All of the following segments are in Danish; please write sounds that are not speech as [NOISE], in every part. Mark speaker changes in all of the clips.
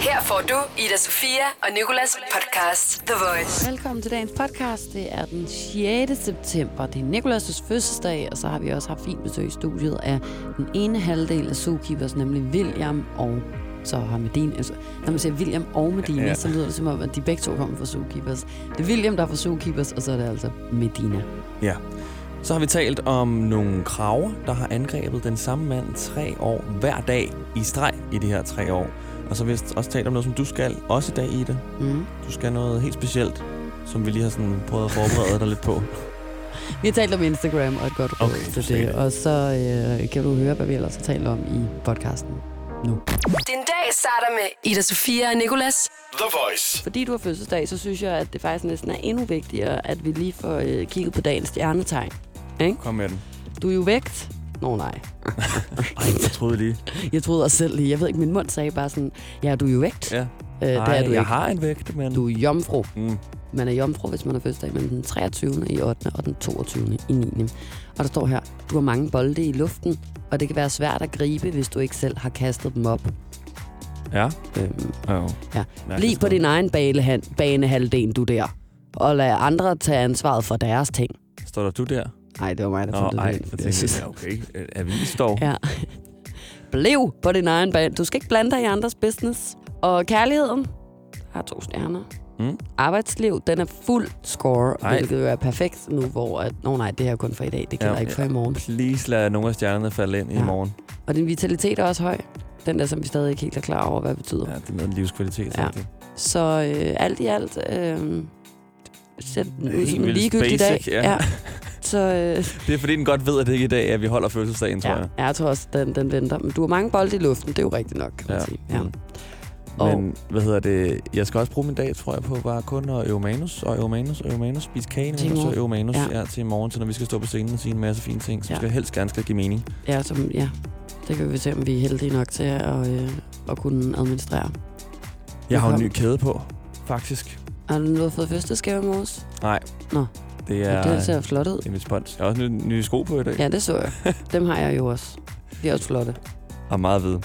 Speaker 1: Her får du Ida Sofia og Nikolas podcast The Voice.
Speaker 2: Velkommen til dagens podcast. Det er den 6. september. Det er Nikolas' fødselsdag, og så har vi også haft fint besøg i studiet af den ene halvdel af Zookeepers, nemlig William og så har Medina, altså, når man siger William og Medina, ja.
Speaker 3: Ja.
Speaker 2: så lyder det som om, at de begge to kommer fra Zookeepers. Det er William, der er fra Zookeepers, og så er det altså Medina.
Speaker 3: Ja. Så har vi talt om nogle kraver, der har angrebet den samme mand tre år hver dag i streg i de her tre år. Og så har vi også talt om noget, som du skal også i dag, Ida.
Speaker 2: Mm.
Speaker 3: Du skal noget helt specielt, som vi lige har sådan prøvet at forberede dig lidt på.
Speaker 2: Vi har talt om Instagram og et godt råd
Speaker 3: Okay,
Speaker 2: okay, til
Speaker 3: se
Speaker 2: det,
Speaker 3: det.
Speaker 2: og så øh, kan du høre, hvad vi ellers har talt om i podcasten nu.
Speaker 1: Din dag starter med Ida Sofia og Nikolas.
Speaker 4: The Voice.
Speaker 2: Fordi du har fødselsdag, så synes jeg, at det faktisk næsten er endnu vigtigere, at vi lige får øh, kigget på dagens stjernetegn.
Speaker 3: Kom med den.
Speaker 2: Du er jo vægt. Nå nej,
Speaker 3: Ej, jeg troede lige.
Speaker 2: jeg troede også selv lige. Jeg ved ikke, min mund sagde bare sådan, ja, du er jo vægt.
Speaker 3: Ja.
Speaker 2: Øh, det
Speaker 3: Ej,
Speaker 2: er du
Speaker 3: jeg
Speaker 2: ikke.
Speaker 3: har en vægt, men...
Speaker 2: Du er jomfru.
Speaker 3: Mm.
Speaker 2: Man er jomfru, hvis man har fødselsdag mellem den 23. i 8. og den 22. i 9. Og der står her, du har mange bolde i luften, og det kan være svært at gribe, hvis du ikke selv har kastet dem op.
Speaker 3: Ja.
Speaker 2: Øhm,
Speaker 3: Oh.
Speaker 2: ja. Bliv på din egen banehan- banehalvdel, du der. Og lad andre tage ansvaret for deres ting.
Speaker 3: Står der du der?
Speaker 2: Nej, det var mig, der tog det.
Speaker 3: ej,
Speaker 2: ind,
Speaker 3: jeg
Speaker 2: fordi jeg
Speaker 3: tænkte,
Speaker 2: synes-
Speaker 3: ja, okay. Øh, Avis dog.
Speaker 2: Ja. Bliv på din egen bane. Du skal ikke blande dig i andres business. Og kærligheden har to stjerner.
Speaker 3: Mm.
Speaker 2: Arbejdsliv, den er fuld score, Ej.
Speaker 3: Ej.
Speaker 2: hvilket jo er perfekt nu, hvor... At, Nå nej, det her er kun for i dag. Det gælder ja,
Speaker 3: Ja,
Speaker 2: ikke for i morgen.
Speaker 3: Please lad nogle af stjernerne falde ind
Speaker 2: Ja.
Speaker 3: i morgen.
Speaker 2: Og din vitalitet er også høj. Den der, som vi stadig ikke helt er klar over, hvad betyder. Ja.
Speaker 3: Ja, det er noget med livskvalitet.
Speaker 2: Ja.
Speaker 3: Ja. Det.
Speaker 2: Så øh, alt i alt... Øh, ser den ud
Speaker 3: Helt
Speaker 2: som en
Speaker 3: vildt
Speaker 2: ligegyldig dag.
Speaker 3: basic, ja.
Speaker 2: Så øh,
Speaker 3: det er fordi, den godt ved, at det ikke er i dag, at vi holder fødselsdagen, tror
Speaker 2: ja,
Speaker 3: jeg.
Speaker 2: jeg tror også, den, den venter. Men du har mange bolde i luften, det er jo rigtigt nok, kan man ja. sige. Ja.
Speaker 3: Mm.
Speaker 2: Og-
Speaker 3: Men hvad hedder det? Jeg skal også bruge min dag, tror jeg, på bare kun at øve manus, og øve manus, og øve manus, spise kage,
Speaker 2: Til i
Speaker 3: men så
Speaker 2: morgen.
Speaker 3: øve manus
Speaker 2: Ja.
Speaker 3: ja. Ja, til i morgen, til når vi skal stå på scenen og sige en masse fine ting, som
Speaker 2: Ja.
Speaker 3: ja. skal helst gerne skal give mening.
Speaker 2: Ja, som, ja, det kan vi se, om vi er heldige nok til at, øh, at kunne administrere.
Speaker 3: Jeg har jo en ny
Speaker 2: Velkommen.
Speaker 3: kæde på, faktisk.
Speaker 2: Har du noget fået fødselsdagsgave i morges?
Speaker 3: Det
Speaker 2: Ja.
Speaker 3: er,
Speaker 2: Det ser flot ud.
Speaker 3: det er mit spons. Jeg har også nye, nye sko på i dag, ja.
Speaker 2: Ja, det så
Speaker 3: [LAUGHS]
Speaker 2: jeg. Dem har jeg jo også. De er også flotte.
Speaker 3: og meget hvid.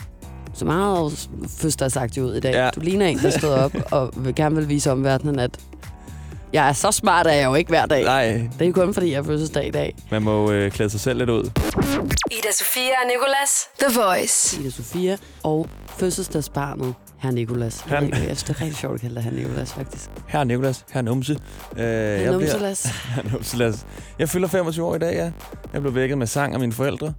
Speaker 2: Så meget fødselsdagsagtig ud i dag. Ja.
Speaker 3: Ja.
Speaker 2: Du ligner en, der stod op og vil gerne vil vise omverdenen, at jeg er så smart, at jeg jo ikke hver dag.
Speaker 3: Nej,
Speaker 2: Det er kun, fordi jeg har fødselsdag i dag.
Speaker 3: man må øh, klæde sig selv lidt ud.
Speaker 1: Ida Sofia og Nikolas. The Voice.
Speaker 2: Ida Sofia og fødselsdagsbarnet, herr Nikolas.
Speaker 3: Han-
Speaker 2: Jeg synes, det er rigtig sjovt at kalde dig herr Nikolas, faktisk.
Speaker 3: Her er Nicolas, her er Numse. Øh,
Speaker 2: Øh,
Speaker 3: jeg
Speaker 2: jeg
Speaker 3: bliver- [LAUGHS] Numselas. Jeg fylder 25 år i dag, ja. Jeg blev vækket med sang af mine forældre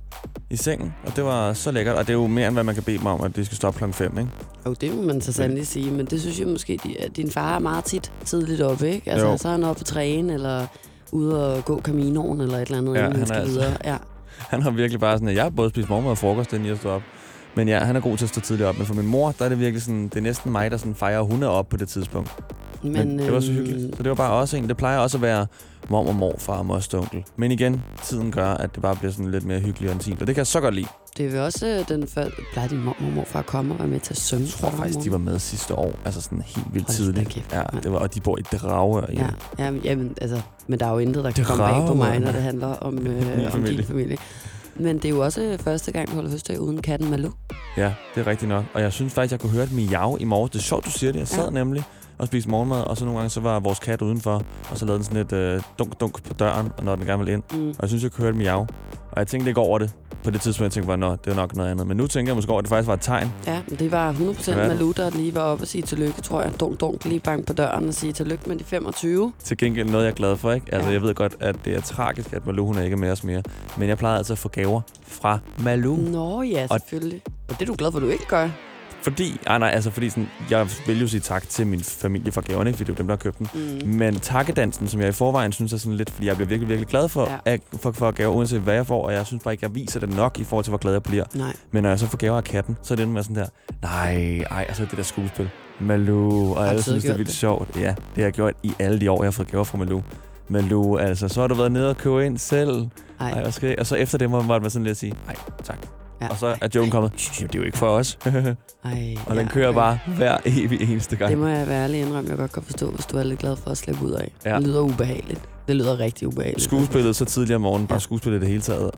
Speaker 3: i sengen, og det var så lækkert. Og det er jo mere, end hvad man kan bede mig om, at det skal stoppe klokken 5, ikke?
Speaker 2: Jo, det må man så sandelig sige, men det synes jeg måske, de- at din far er meget tit tidligt oppe, ikke? Altså, jo.
Speaker 3: Jo.
Speaker 2: så er han oppe at træne, eller ude og gå Caminoen, eller et eller andet, ja,
Speaker 3: Ja,
Speaker 2: inden han
Speaker 3: han
Speaker 2: skal
Speaker 3: er altså-
Speaker 2: videre. Ja.
Speaker 3: Han har virkelig bare sådan, at jeg har både spist morgenmad og frokost, inden jeg står op. Men ja, han er god til at stå tidligt op. Men for min mor, der er det virkelig sådan, det er næsten mig, der sådan fejrer, at hun er op på det tidspunkt.
Speaker 2: Men,
Speaker 3: Men, Men det var så
Speaker 2: øhm,
Speaker 3: hyggeligt. Så det var bare også en, det plejer også at være mor og morfar og moster onkel. Men igen, tiden gør, at det bare bliver sådan lidt mere hyggeligt og intimt. Og det kan jeg så godt lide.
Speaker 2: Det er vel også øh, den før... Plejer din mormor og morfar at komme og være med til at synge?
Speaker 3: Jeg tror faktisk, de var med sidste år. Altså sådan helt vildt
Speaker 2: Hold da
Speaker 3: tidligt.
Speaker 2: kæft,
Speaker 3: ja,
Speaker 2: mand.
Speaker 3: det var, og de bor i Dragør.
Speaker 2: Ja, ja men, jamen, altså, men der er jo intet, der kan
Speaker 3: Det
Speaker 2: komme bag på
Speaker 3: rager,
Speaker 2: mig,
Speaker 3: mand.
Speaker 2: når det handler
Speaker 3: [LAUGHS]
Speaker 2: om, øh, om din
Speaker 3: familie.
Speaker 2: familie. Men det er jo også øh, første gang, du holder fødselsdag uden katten Malou.
Speaker 3: Ja, det er rigtigt nok. Og jeg synes faktisk, jeg kunne høre et miau i morges. Det er sjovt, du siger det. Jeg sad
Speaker 2: Ja.
Speaker 3: ja. nemlig og spiste morgenmad, og så nogle gange så var vores kat udenfor, og så lavede den sådan et øh, dunk-dunk på døren, og når den gerne ville ind.
Speaker 2: Mm.
Speaker 3: Og jeg synes, jeg kunne høre et miau. Og jeg tænkte ikke over det. På det tidspunkt, jeg tænkte bare, nå, det er nok noget andet. Men nu tænker jeg måske over, at det faktisk var et tegn.
Speaker 2: Ja, men det var 100%
Speaker 3: Hvad er det?
Speaker 2: Malou, der lige var oppe og sige tillykke, tror jeg. Dunk, dunk, lige bank på døren og sige tillykke med de 25.
Speaker 3: Til gengæld noget, jeg er glad for, ikke? Altså,
Speaker 2: Ja.
Speaker 3: ja. jeg ved godt, at det er tragisk, at Malou, hun er ikke med os mere. Men jeg plejede altså at få gaver fra Malou. Mm.
Speaker 2: Nå ja,
Speaker 3: Og-
Speaker 2: selvfølgelig. Og det er du glad for, du ikke gør.
Speaker 3: Fordi, ej, nej, altså, fordi sådan, jeg vil jo sige tak til min familie for gaverne, ikke? Fordi det er jo dem, der har købt dem.
Speaker 2: Mm.
Speaker 3: Men takkedansen, som jeg i forvejen synes er sådan lidt, fordi jeg bliver virkelig, virkelig glad for,
Speaker 2: Ja.
Speaker 3: ja. at, for, for gaver, uanset hvad jeg får, og jeg synes bare ikke, jeg viser det nok i forhold til, hvor glad jeg bliver.
Speaker 2: Nej.
Speaker 3: Men når jeg så får gaver af katten, så er det med sådan der, nej, ej, og så er det der skuespil. Malou, og
Speaker 2: du
Speaker 3: jeg synes, det er
Speaker 2: gjort
Speaker 3: vildt
Speaker 2: det?
Speaker 3: det? sjovt. Ja, det har jeg gjort i alle de år, jeg har fået gaver fra Malou. Malou, altså, så har du været nede og købe ind selv.
Speaker 2: Ej.
Speaker 3: Ej, hvad skal jeg? Og så efter det må man bare være sådan lidt at sige, nej, tak.
Speaker 2: Ja.
Speaker 3: Og så er joken kommet, "Shh, det er jo ikke for
Speaker 2: [LAUGHS]
Speaker 3: os.
Speaker 2: Ej,
Speaker 3: og den
Speaker 2: ja,
Speaker 3: kører
Speaker 2: okay.
Speaker 3: bare hver evig eneste gang.
Speaker 2: Det må jeg være ærlig indrømme, jeg godt kan forstå, hvis du er lidt glad for at slippe ud af. Ja.
Speaker 3: Ja.
Speaker 2: Det lyder ubehageligt. Det lyder rigtig ubehageligt.
Speaker 3: Skuespillet så tidligt om morgenen,
Speaker 2: Ja.
Speaker 3: bare skuespillet i det hele taget.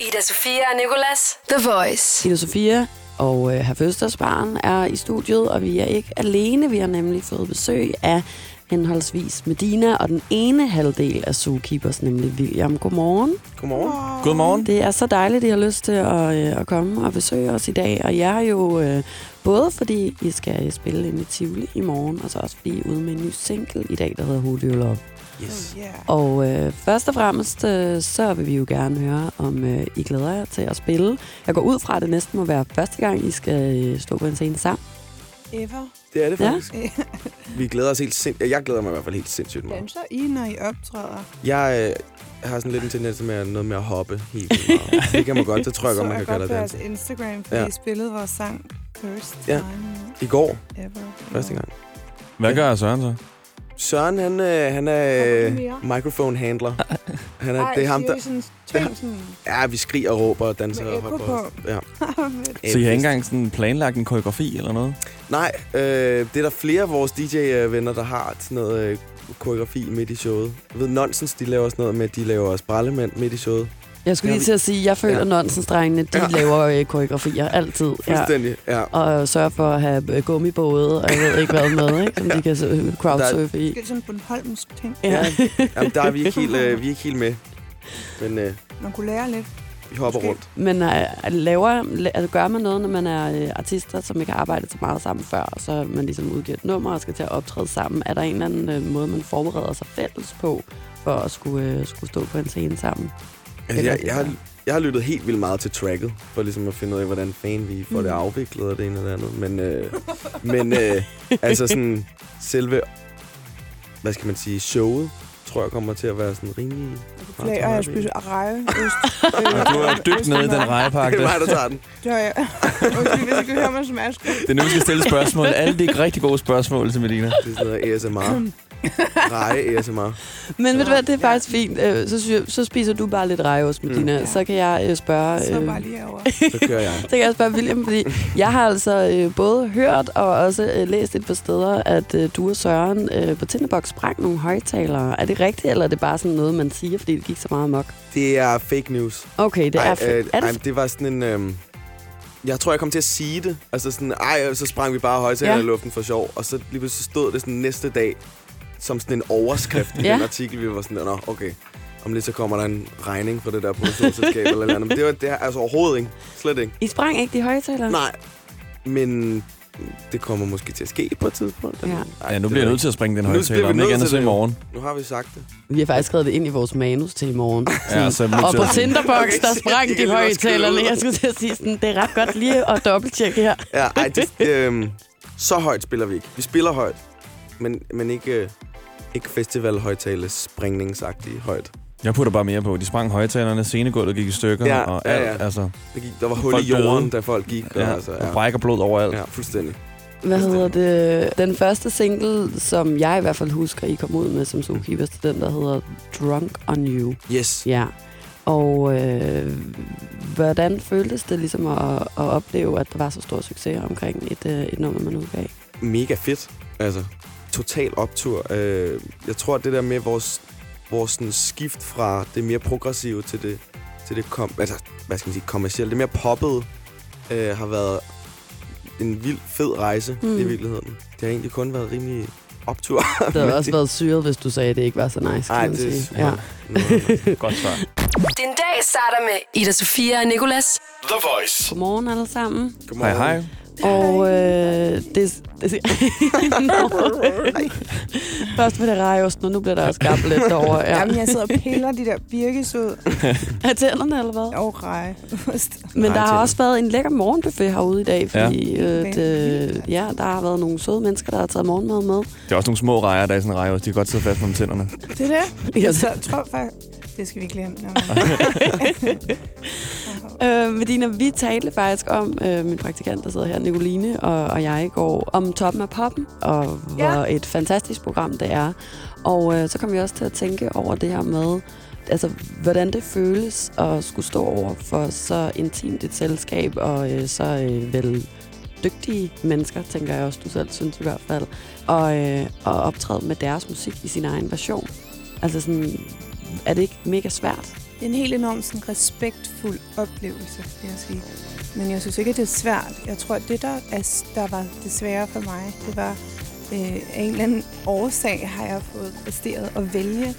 Speaker 1: Ida Sofia og Nikolas. The Voice.
Speaker 2: Ida Sofia og øh, herr Føstersbaren er i studiet, og vi er ikke alene. Vi har nemlig fået besøg af henholdsvis Medina og den ene halvdel af Zookeepers, nemlig William. Godmorgen.
Speaker 3: Godmorgen. Godmorgen.
Speaker 2: Det er så dejligt, at I har lyst til at, øh, at komme og besøge os i dag. Og jeg er jo øh, både fordi, I skal spille ind i Tivoli i morgen, og så også fordi I er ude med en ny single i dag, der hedder Hold Your Love.
Speaker 3: Yes.
Speaker 2: Og øh, først og fremmest, øh, så vil vi jo gerne høre, om øh, I glæder jer til at spille. Jeg går ud fra, at det næsten må være første gang, I skal øh, stå på en scene sammen.
Speaker 4: Ever.
Speaker 5: Det er det
Speaker 2: Ja.
Speaker 5: faktisk. Ja. Vi glæder os helt sindssygt. Jeg glæder mig i hvert fald helt sindssygt meget.
Speaker 4: Danser I, når I optræder?
Speaker 5: Jeg øh, har sådan lidt en tendens med at noget med at hoppe helt vildt meget. Det kan man godt. Det tror jeg godt, man kan kalde
Speaker 4: godt
Speaker 5: det
Speaker 4: på jeres
Speaker 5: dans.
Speaker 4: Instagram, fordi
Speaker 5: Ja.
Speaker 4: ja. I spillede vores sang First
Speaker 5: Ja.
Speaker 4: Time
Speaker 5: I går,
Speaker 4: Ever.
Speaker 5: første gang.
Speaker 3: Hvad gør Søren så?
Speaker 5: Søren, han, øh, han er
Speaker 4: Har du
Speaker 5: øh,
Speaker 4: mere?
Speaker 5: microphone-handler. Han er,
Speaker 4: Ej,
Speaker 5: det er ham, der...
Speaker 4: Sådan,
Speaker 5: det er ham-
Speaker 4: sådan,
Speaker 5: Ja, vi skriger og råber og danser
Speaker 4: Med
Speaker 5: og
Speaker 4: ekko
Speaker 5: hopper. og- Ja.
Speaker 3: Så I har ikke engang sådan planlagt en koreografi eller noget?
Speaker 5: Nej, øh, det er der flere af vores DJ-venner, der har sådan noget øh, koreografi midt i showet. Jeg ved, Nonsens, de laver sådan noget med, at de laver også brællemænd midt i showet.
Speaker 2: Jeg skulle
Speaker 5: Ja,
Speaker 2: lige
Speaker 5: vi-
Speaker 2: til at sige, at jeg føler,
Speaker 5: Ja.
Speaker 2: at nonsensdrengene, de
Speaker 5: Ja.
Speaker 2: laver øh, koreografier altid. Ja.
Speaker 5: Fuldstændig, ja.
Speaker 2: Og sørger for at have øh, gummibåde, og jeg ved ikke hvad med, ikke? som de kan øh, crowdsurfe i.
Speaker 4: Det er sådan [LAUGHS] en Bornholmsk ting.
Speaker 2: Ja. [LAUGHS]
Speaker 5: Jamen, der er vi ikke helt, øh, vi er ikke helt med. Men øh,
Speaker 4: Man kunne lære lidt.
Speaker 5: vi hopper
Speaker 4: Måske.
Speaker 5: rundt.
Speaker 2: Men øh, laver, la- altså, gør man noget, når man er øh, artister, som ikke har arbejdet så meget sammen før, og så man ligesom udgiver et nummer og skal til at optræde sammen? Er der en eller anden øh, måde, man forbereder sig fælles på, for at skulle, øh, skulle stå på en scene sammen?
Speaker 5: Altså, jeg,
Speaker 2: rigtig
Speaker 5: jeg, har,
Speaker 2: svært.
Speaker 5: jeg har lyttet helt vildt meget til tracket, for ligesom at finde ud af, hvordan fanden vi får det
Speaker 4: Mm.
Speaker 5: afviklet og det ene og det andet. Men, øh, men øh, altså sådan selve, hvad skal man sige, showet, tror jeg kommer til at være sådan rimelig...
Speaker 4: Flager, jeg spiser reje. Øst,
Speaker 3: Ja, du er dybt nede i den rejepakke.
Speaker 5: [LAUGHS] [LAUGHS] Det
Speaker 3: der.
Speaker 5: er mig, der tager den.
Speaker 4: Det har jeg. Undskyld, hvis I kan høre mig som Ask.
Speaker 3: Det er nu, vi skal stille spørgsmål. Alle de rigtig gode spørgsmål til Melina.
Speaker 5: Det er sådan noget ASMR. Reje ASMR.
Speaker 2: Men ved du hvad, det er faktisk fint. Øh, så, sy- så spiser du bare lidt rejeost med
Speaker 5: Mm.
Speaker 2: dine. Så kan jeg øh, spørge...
Speaker 4: Så
Speaker 2: øh,
Speaker 4: bare lige herovre.
Speaker 5: [LAUGHS] Så kører jeg.
Speaker 2: Så kan jeg spørge William, fordi jeg har altså øh, både hørt og også øh, læst et par steder, at øh, du og Søren øh, på Tinderbox sprang nogle højtalere. Er det rigtigt, eller er det bare sådan noget, man siger, fordi det gik så meget mok?
Speaker 5: Det er fake news.
Speaker 2: Okay, det er...
Speaker 5: ej,
Speaker 2: Øh, er
Speaker 5: ej,
Speaker 2: det,
Speaker 5: det var sådan en... Øhm, jeg tror, jeg kom til at sige det. Altså sådan, ej, så sprang vi bare højtaler
Speaker 2: Ja.
Speaker 5: ja. i luften for sjov. Og så lige pludselig så stod det sådan næste dag som sådan en overskrift i
Speaker 2: Ja.
Speaker 5: den artikel. Vi var sådan, nå, okay. Om lidt så kommer der en regning fra det der produktionsselskab eller noget andet. Men det var det er altså overhovedet ikke. Slet ikke.
Speaker 2: I sprang ikke de højtalere?
Speaker 5: Nej. Men det kommer måske til at ske på et tidspunkt.
Speaker 2: Ja.
Speaker 5: Ej,
Speaker 3: Ja, nu
Speaker 5: det
Speaker 3: bliver jeg
Speaker 5: ved
Speaker 3: nødt til at springe den
Speaker 5: Nu
Speaker 3: højtaler.
Speaker 5: bliver vi
Speaker 3: Om ikke
Speaker 5: nødt
Speaker 3: andet
Speaker 5: til
Speaker 3: så i
Speaker 5: det jo.
Speaker 3: morgen.
Speaker 5: Nu har vi sagt det.
Speaker 2: Vi har faktisk skrevet det ind i vores manus til i morgen.
Speaker 3: Ja, så er vi nødt
Speaker 2: og
Speaker 3: til
Speaker 2: på
Speaker 3: at-
Speaker 5: Okay,
Speaker 2: Tinderbox, der
Speaker 5: shit,
Speaker 2: sprang
Speaker 5: det
Speaker 2: de
Speaker 5: kan vi også
Speaker 2: højtalerne.
Speaker 5: skrive ud.
Speaker 2: Jeg skulle til at sige sådan, det er ret godt lige at dobbelttjekke her.
Speaker 5: Ja, ej, det, øhm, så højt spiller vi ikke. Vi spiller højt, men, men ikke, øh, ikke festivalhøjtale springningsagtigt højt.
Speaker 3: Jeg putter bare mere på. De sprang højtalerne, scenegulvet gik i stykker.
Speaker 5: Ja,
Speaker 3: og
Speaker 5: ja,
Speaker 3: alt,
Speaker 5: ja.
Speaker 3: Altså,
Speaker 5: Der, gik, der var hul
Speaker 3: Folk
Speaker 5: i jorden,
Speaker 3: døde.
Speaker 5: da folk gik. Ja,
Speaker 3: ja,
Speaker 5: og, altså,
Speaker 3: og
Speaker 5: ja.
Speaker 3: brækker blod overalt.
Speaker 5: ja, fuldstændig.
Speaker 2: Hvad hedder det? Den første single, som jeg i hvert fald husker, I kom ud med som Zookeepers, det er den, der hedder Drunk on You.
Speaker 5: Yes.
Speaker 2: Ja. Og øh, hvordan føltes det ligesom at, at opleve, at der var så stor succes omkring et, øh, et nummer, man udgav?
Speaker 5: [LAUGHS] Mega fedt. Altså, total optur. Øh, jeg tror, at det der med vores, vores sådan, skift fra det mere progressive til det, til det kom, altså, hvad skal man sige, kommercielle, det mere poppede, øh, har været en vild fed rejse
Speaker 2: Mm.
Speaker 5: mm. i virkeligheden. Det har egentlig kun været rimelig optur.
Speaker 2: Det havde
Speaker 5: Men
Speaker 2: også været syret, hvis du sagde, at det ikke var så nice. kan
Speaker 5: Ej,
Speaker 2: man
Speaker 5: det er
Speaker 2: sige.
Speaker 5: super. Nå.
Speaker 3: Godt svar.
Speaker 1: Din dag starter med Ida Sofia og Nicolas.
Speaker 2: Godmorgen alle sammen.
Speaker 3: Hej, hej.
Speaker 2: Og øh, det... det no. Først med det rejosten, og nu bliver der også gabt lidt derovre.
Speaker 4: Ja.
Speaker 2: Ja.
Speaker 4: Jamen, jeg sidder og piller de der birkes ud
Speaker 2: Er tænderne eller hvad?
Speaker 4: og reje.
Speaker 2: Men der har
Speaker 5: tænder.
Speaker 2: også været en lækker morgenbuffet herude i dag, fordi ja. Øh, det,
Speaker 4: Vanvittigt.
Speaker 2: ja, der har været nogle søde mennesker, der har taget morgenmad med.
Speaker 3: Det er også nogle små rejer, der er i sådan en rejer. De kan godt sidde fast på tænderne. Mm.
Speaker 4: det er det.
Speaker 2: Ja. [LAUGHS]
Speaker 4: Jeg så, tror faktisk... Det skal vi ikke glemme. Nå, men-
Speaker 2: [LAUGHS]
Speaker 4: [LAUGHS]
Speaker 2: Øh, Medina, vi talte faktisk om, øh, min praktikant, der sidder her, Nicoline, og, og jeg i går, om Toppen af Poppen, og hvor
Speaker 4: Ja.
Speaker 2: et fantastisk program det er. Og øh, så kom vi også til at tænke over det her med, altså, hvordan det føles at skulle stå over for så intimt et selskab, og øh, så øh, vel dygtige mennesker, tænker jeg også, du selv synes i hvert fald, og, øh, og optræde med deres musik i sin egen version. Altså sådan, er det ikke mega svært?
Speaker 4: Det er en helt enormt sådan, respektfuld oplevelse, vil jeg sige. Men jeg synes ikke, at det er svært. Jeg tror, at det, der, er, der var det svære for mig, det var, øh, af en eller anden årsag har jeg fået præsteret at vælge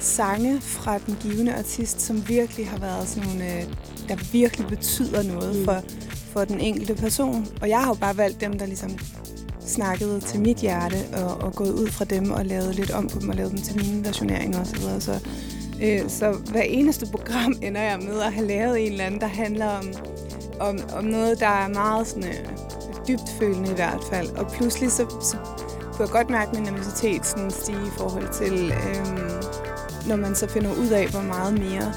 Speaker 4: sange fra den givende artist, som virkelig har været sådan nogle, øh, der virkelig betyder noget for, for den enkelte person. Og jeg har jo bare valgt dem, der ligesom snakkede til mit hjerte, og, og gået ud fra dem og lavet lidt om på dem, og lavet dem til mine versioneringer osv. Så, videre. så Øh, Så hver eneste program ender jeg med at have lavet en eller anden, der handler om, om, om noget, der er meget sådan, øh, dybt følende i hvert fald. Og pludselig så, så kunne jeg godt mærke min nervøsitet sådan stige i forhold til, øh, når man så finder ud af, hvor meget mere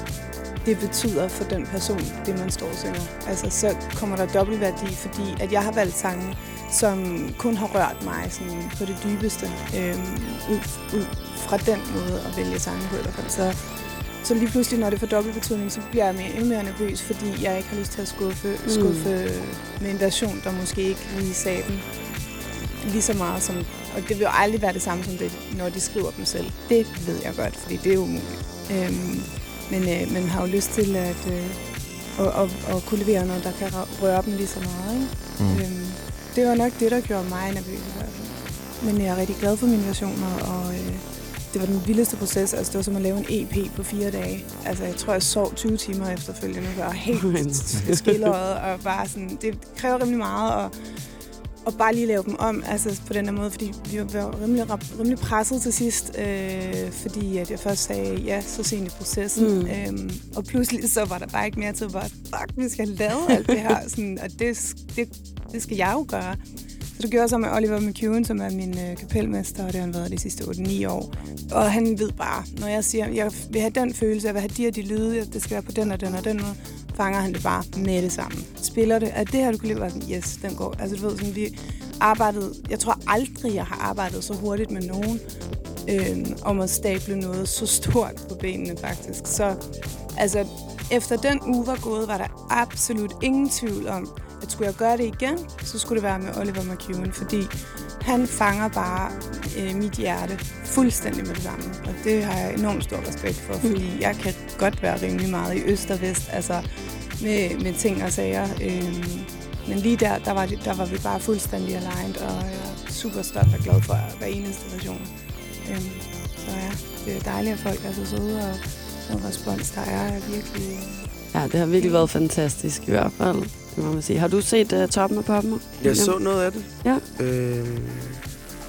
Speaker 4: det betyder for den person, det man står og synger. Altså, så kommer der dobbelt værdi, fordi at jeg har valgt sange, som kun har rørt mig sådan, på det dybeste. Øh, ud, ud fra den måde at vælge sange på i hvert fald. Så, så lige pludselig, når det får dobbelt betydning, så bliver jeg mere, endnu mere nervøs, fordi jeg ikke har lyst til at skuffe, mm. skuffe med en version, der måske ikke lige sagde den lige så meget som... Og det vil jo aldrig være det samme som det, når de skriver dem selv. Det ved jeg godt, fordi det er umuligt. Øhm, men øh, man har jo lyst til at, øh, at, at, at kunne levere noget, der kan røre dem lige så meget. Ikke? Mm. Øhm, det var nok det, der gjorde mig nervøs i hvert fald. Men jeg er rigtig glad for mine versioner, og øh, det var den vildeste proces. Altså, det var som at lave en EP på fire dage. Altså, jeg tror, jeg sov 20 timer efterfølgende, og var helt skildret, og bare sådan, det kræver rimelig meget, og og bare lige lave dem om, altså på den her måde, fordi vi var rimelig, rap- rimelig presset til sidst, øh, fordi at jeg først sagde ja så sent i processen, mm. øhm, og pludselig så var der bare ikke mere til, bare, fuck, vi skal have lavet alt det her, sådan, og det, det, det skal jeg jo gøre. Så det gjorde jeg sammen med Oliver McEwen, som er min øh, kapelmester, og det har han været de sidste 8-9 år. Og han ved bare, når jeg siger, jeg vil have den følelse, jeg vil have de og de lyde, det skal være på den og den og den måde, fanger han det bare med det samme. Spiller det, at det her, du kan lide, var sådan, yes, den går. Altså du ved, sådan, vi arbejdede, jeg tror aldrig, jeg har arbejdet så hurtigt med nogen, øh, om at stable noget så stort på benene faktisk. Så altså, efter den uge var gået, var der absolut ingen tvivl om, at skulle jeg gøre det igen, så skulle det være med Oliver McEwen, fordi han fanger bare øh, mit hjerte fuldstændig med det samme. Og det har jeg enormt stor respekt for, fordi jeg kan godt være rimelig meget i øst og vest, altså med, med ting og sager. Øh, men lige der, der var, det, der var vi bare fuldstændig aligned, og jeg er super stolt og glad for hver eneste version. Øh, så ja, det er dejligt, at folk er så søde, og den respons, der er, er virkelig...
Speaker 2: Ja, det har virkelig været fantastisk i hvert fald. Det må man sige. Har du set uh, toppen af poppen? William?
Speaker 5: Jeg så noget af det.
Speaker 2: Ja.
Speaker 5: Øh,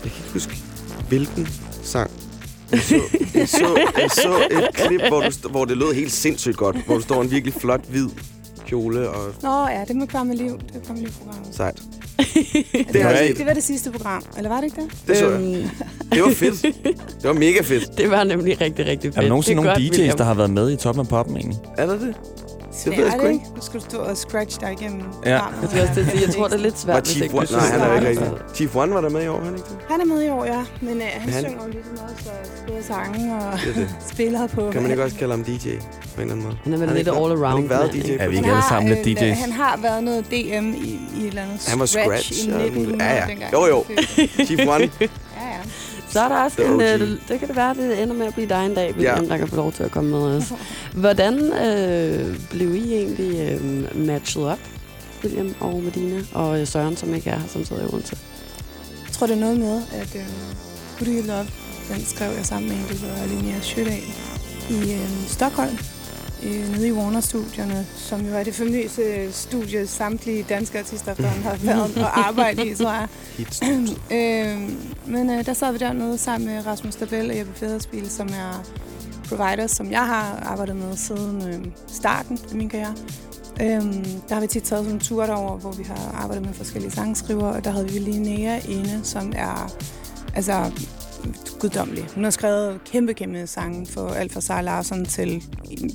Speaker 5: jeg kan ikke huske, hvilken sang. Jeg så, jeg så, jeg så et klip, hvor, du, st- hvor det lød helt sindssygt godt. Hvor du står i en virkelig flot hvid kjole og
Speaker 4: Nå ja, det må kvarme liv. Det var kvarme liv-programmet.
Speaker 5: sejt.
Speaker 4: Ja,
Speaker 5: Det
Speaker 4: det,
Speaker 5: har
Speaker 4: var,
Speaker 5: jeg set.
Speaker 4: det var det sidste program, eller var det ikke det?
Speaker 5: Det så jeg.
Speaker 2: Øhm,
Speaker 5: Det var fedt. Det var mega fedt.
Speaker 2: [LAUGHS] det var nemlig rigtig, rigtig fedt.
Speaker 3: Er der nogensinde
Speaker 2: Det er
Speaker 3: nogle
Speaker 2: godt,
Speaker 3: DJ's,
Speaker 2: William.
Speaker 3: der har været med i toppen af poppen egentlig?
Speaker 5: Er der det? Det
Speaker 4: er
Speaker 5: ved jeg sgu ikke.
Speaker 4: Nu skal du stå og scratch dig igennem
Speaker 3: Ja.
Speaker 4: programmet.
Speaker 2: Jeg, skal også til at sige, jeg tror, det er lidt
Speaker 5: Var
Speaker 2: svært, hvis
Speaker 5: Chief
Speaker 2: ikke du
Speaker 5: One? Nej,
Speaker 2: synes,
Speaker 5: han er
Speaker 2: der
Speaker 5: ikke
Speaker 2: noget.
Speaker 5: rigtig. Chief One var der med i år, var han ikke det?
Speaker 4: Han er med i år, ja. Men øh, han,
Speaker 5: Han-
Speaker 4: han synger jo ligesom også og skriver sange og [LAUGHS]
Speaker 5: Det er det.
Speaker 4: spiller på...
Speaker 5: Kan man ikke også kalde ham DJ på en eller anden måde?
Speaker 2: Han er vel
Speaker 5: Han er
Speaker 2: lidt
Speaker 5: ikke-
Speaker 2: all
Speaker 5: Har han
Speaker 2: around.
Speaker 5: ikke været
Speaker 2: mand,
Speaker 5: DJ?
Speaker 2: ikke?
Speaker 3: Er vi
Speaker 4: Han
Speaker 3: ikke alle
Speaker 4: har
Speaker 3: sammen lidt
Speaker 4: en, øh,
Speaker 3: DJ's?
Speaker 4: Han har været noget DM i, i et eller andet
Speaker 5: Han var
Speaker 4: i
Speaker 5: scratch og alt muligt.
Speaker 4: 1900
Speaker 5: Ja, ja.
Speaker 4: dengang.
Speaker 5: Jo, jo. Chief One.
Speaker 4: Ja, ja.
Speaker 2: [LAUGHS] Så er der også
Speaker 5: The
Speaker 2: en,
Speaker 5: OG.
Speaker 2: øh, det kan det være, det ender med at blive dig en dag, William, der kan få lov til at komme med os. Hvordan øh, blev I egentlig øh, matchet op, William og Medina, og øh, Søren, som ikke er her, som sidder i Odense?
Speaker 4: Jeg tror, det er noget med, at øh, Woody You Love, den skrev jeg sammen med en, der hedder Linnea Sjødal i øh, Stockholm, øh, nede i Warner-studierne, som jo er det famøse øh, studie, samtlige danske artister efterhånden har været og arbejdet i, tror jeg.
Speaker 5: Hits.
Speaker 4: øh, men øh, der sad vi dernede sammen med Rasmus Dabel og Jeppe Federspil, som er providers, som jeg har arbejdet med siden øh, starten af min karriere. Øhm, der har vi tit taget sådan en tur derover, hvor vi har arbejdet med forskellige sangskriver, og der havde vi Linnea inde, som er altså guddommelig. Hun har skrevet kæmpe, kæmpe sange for alt fra Sarah Larsen til,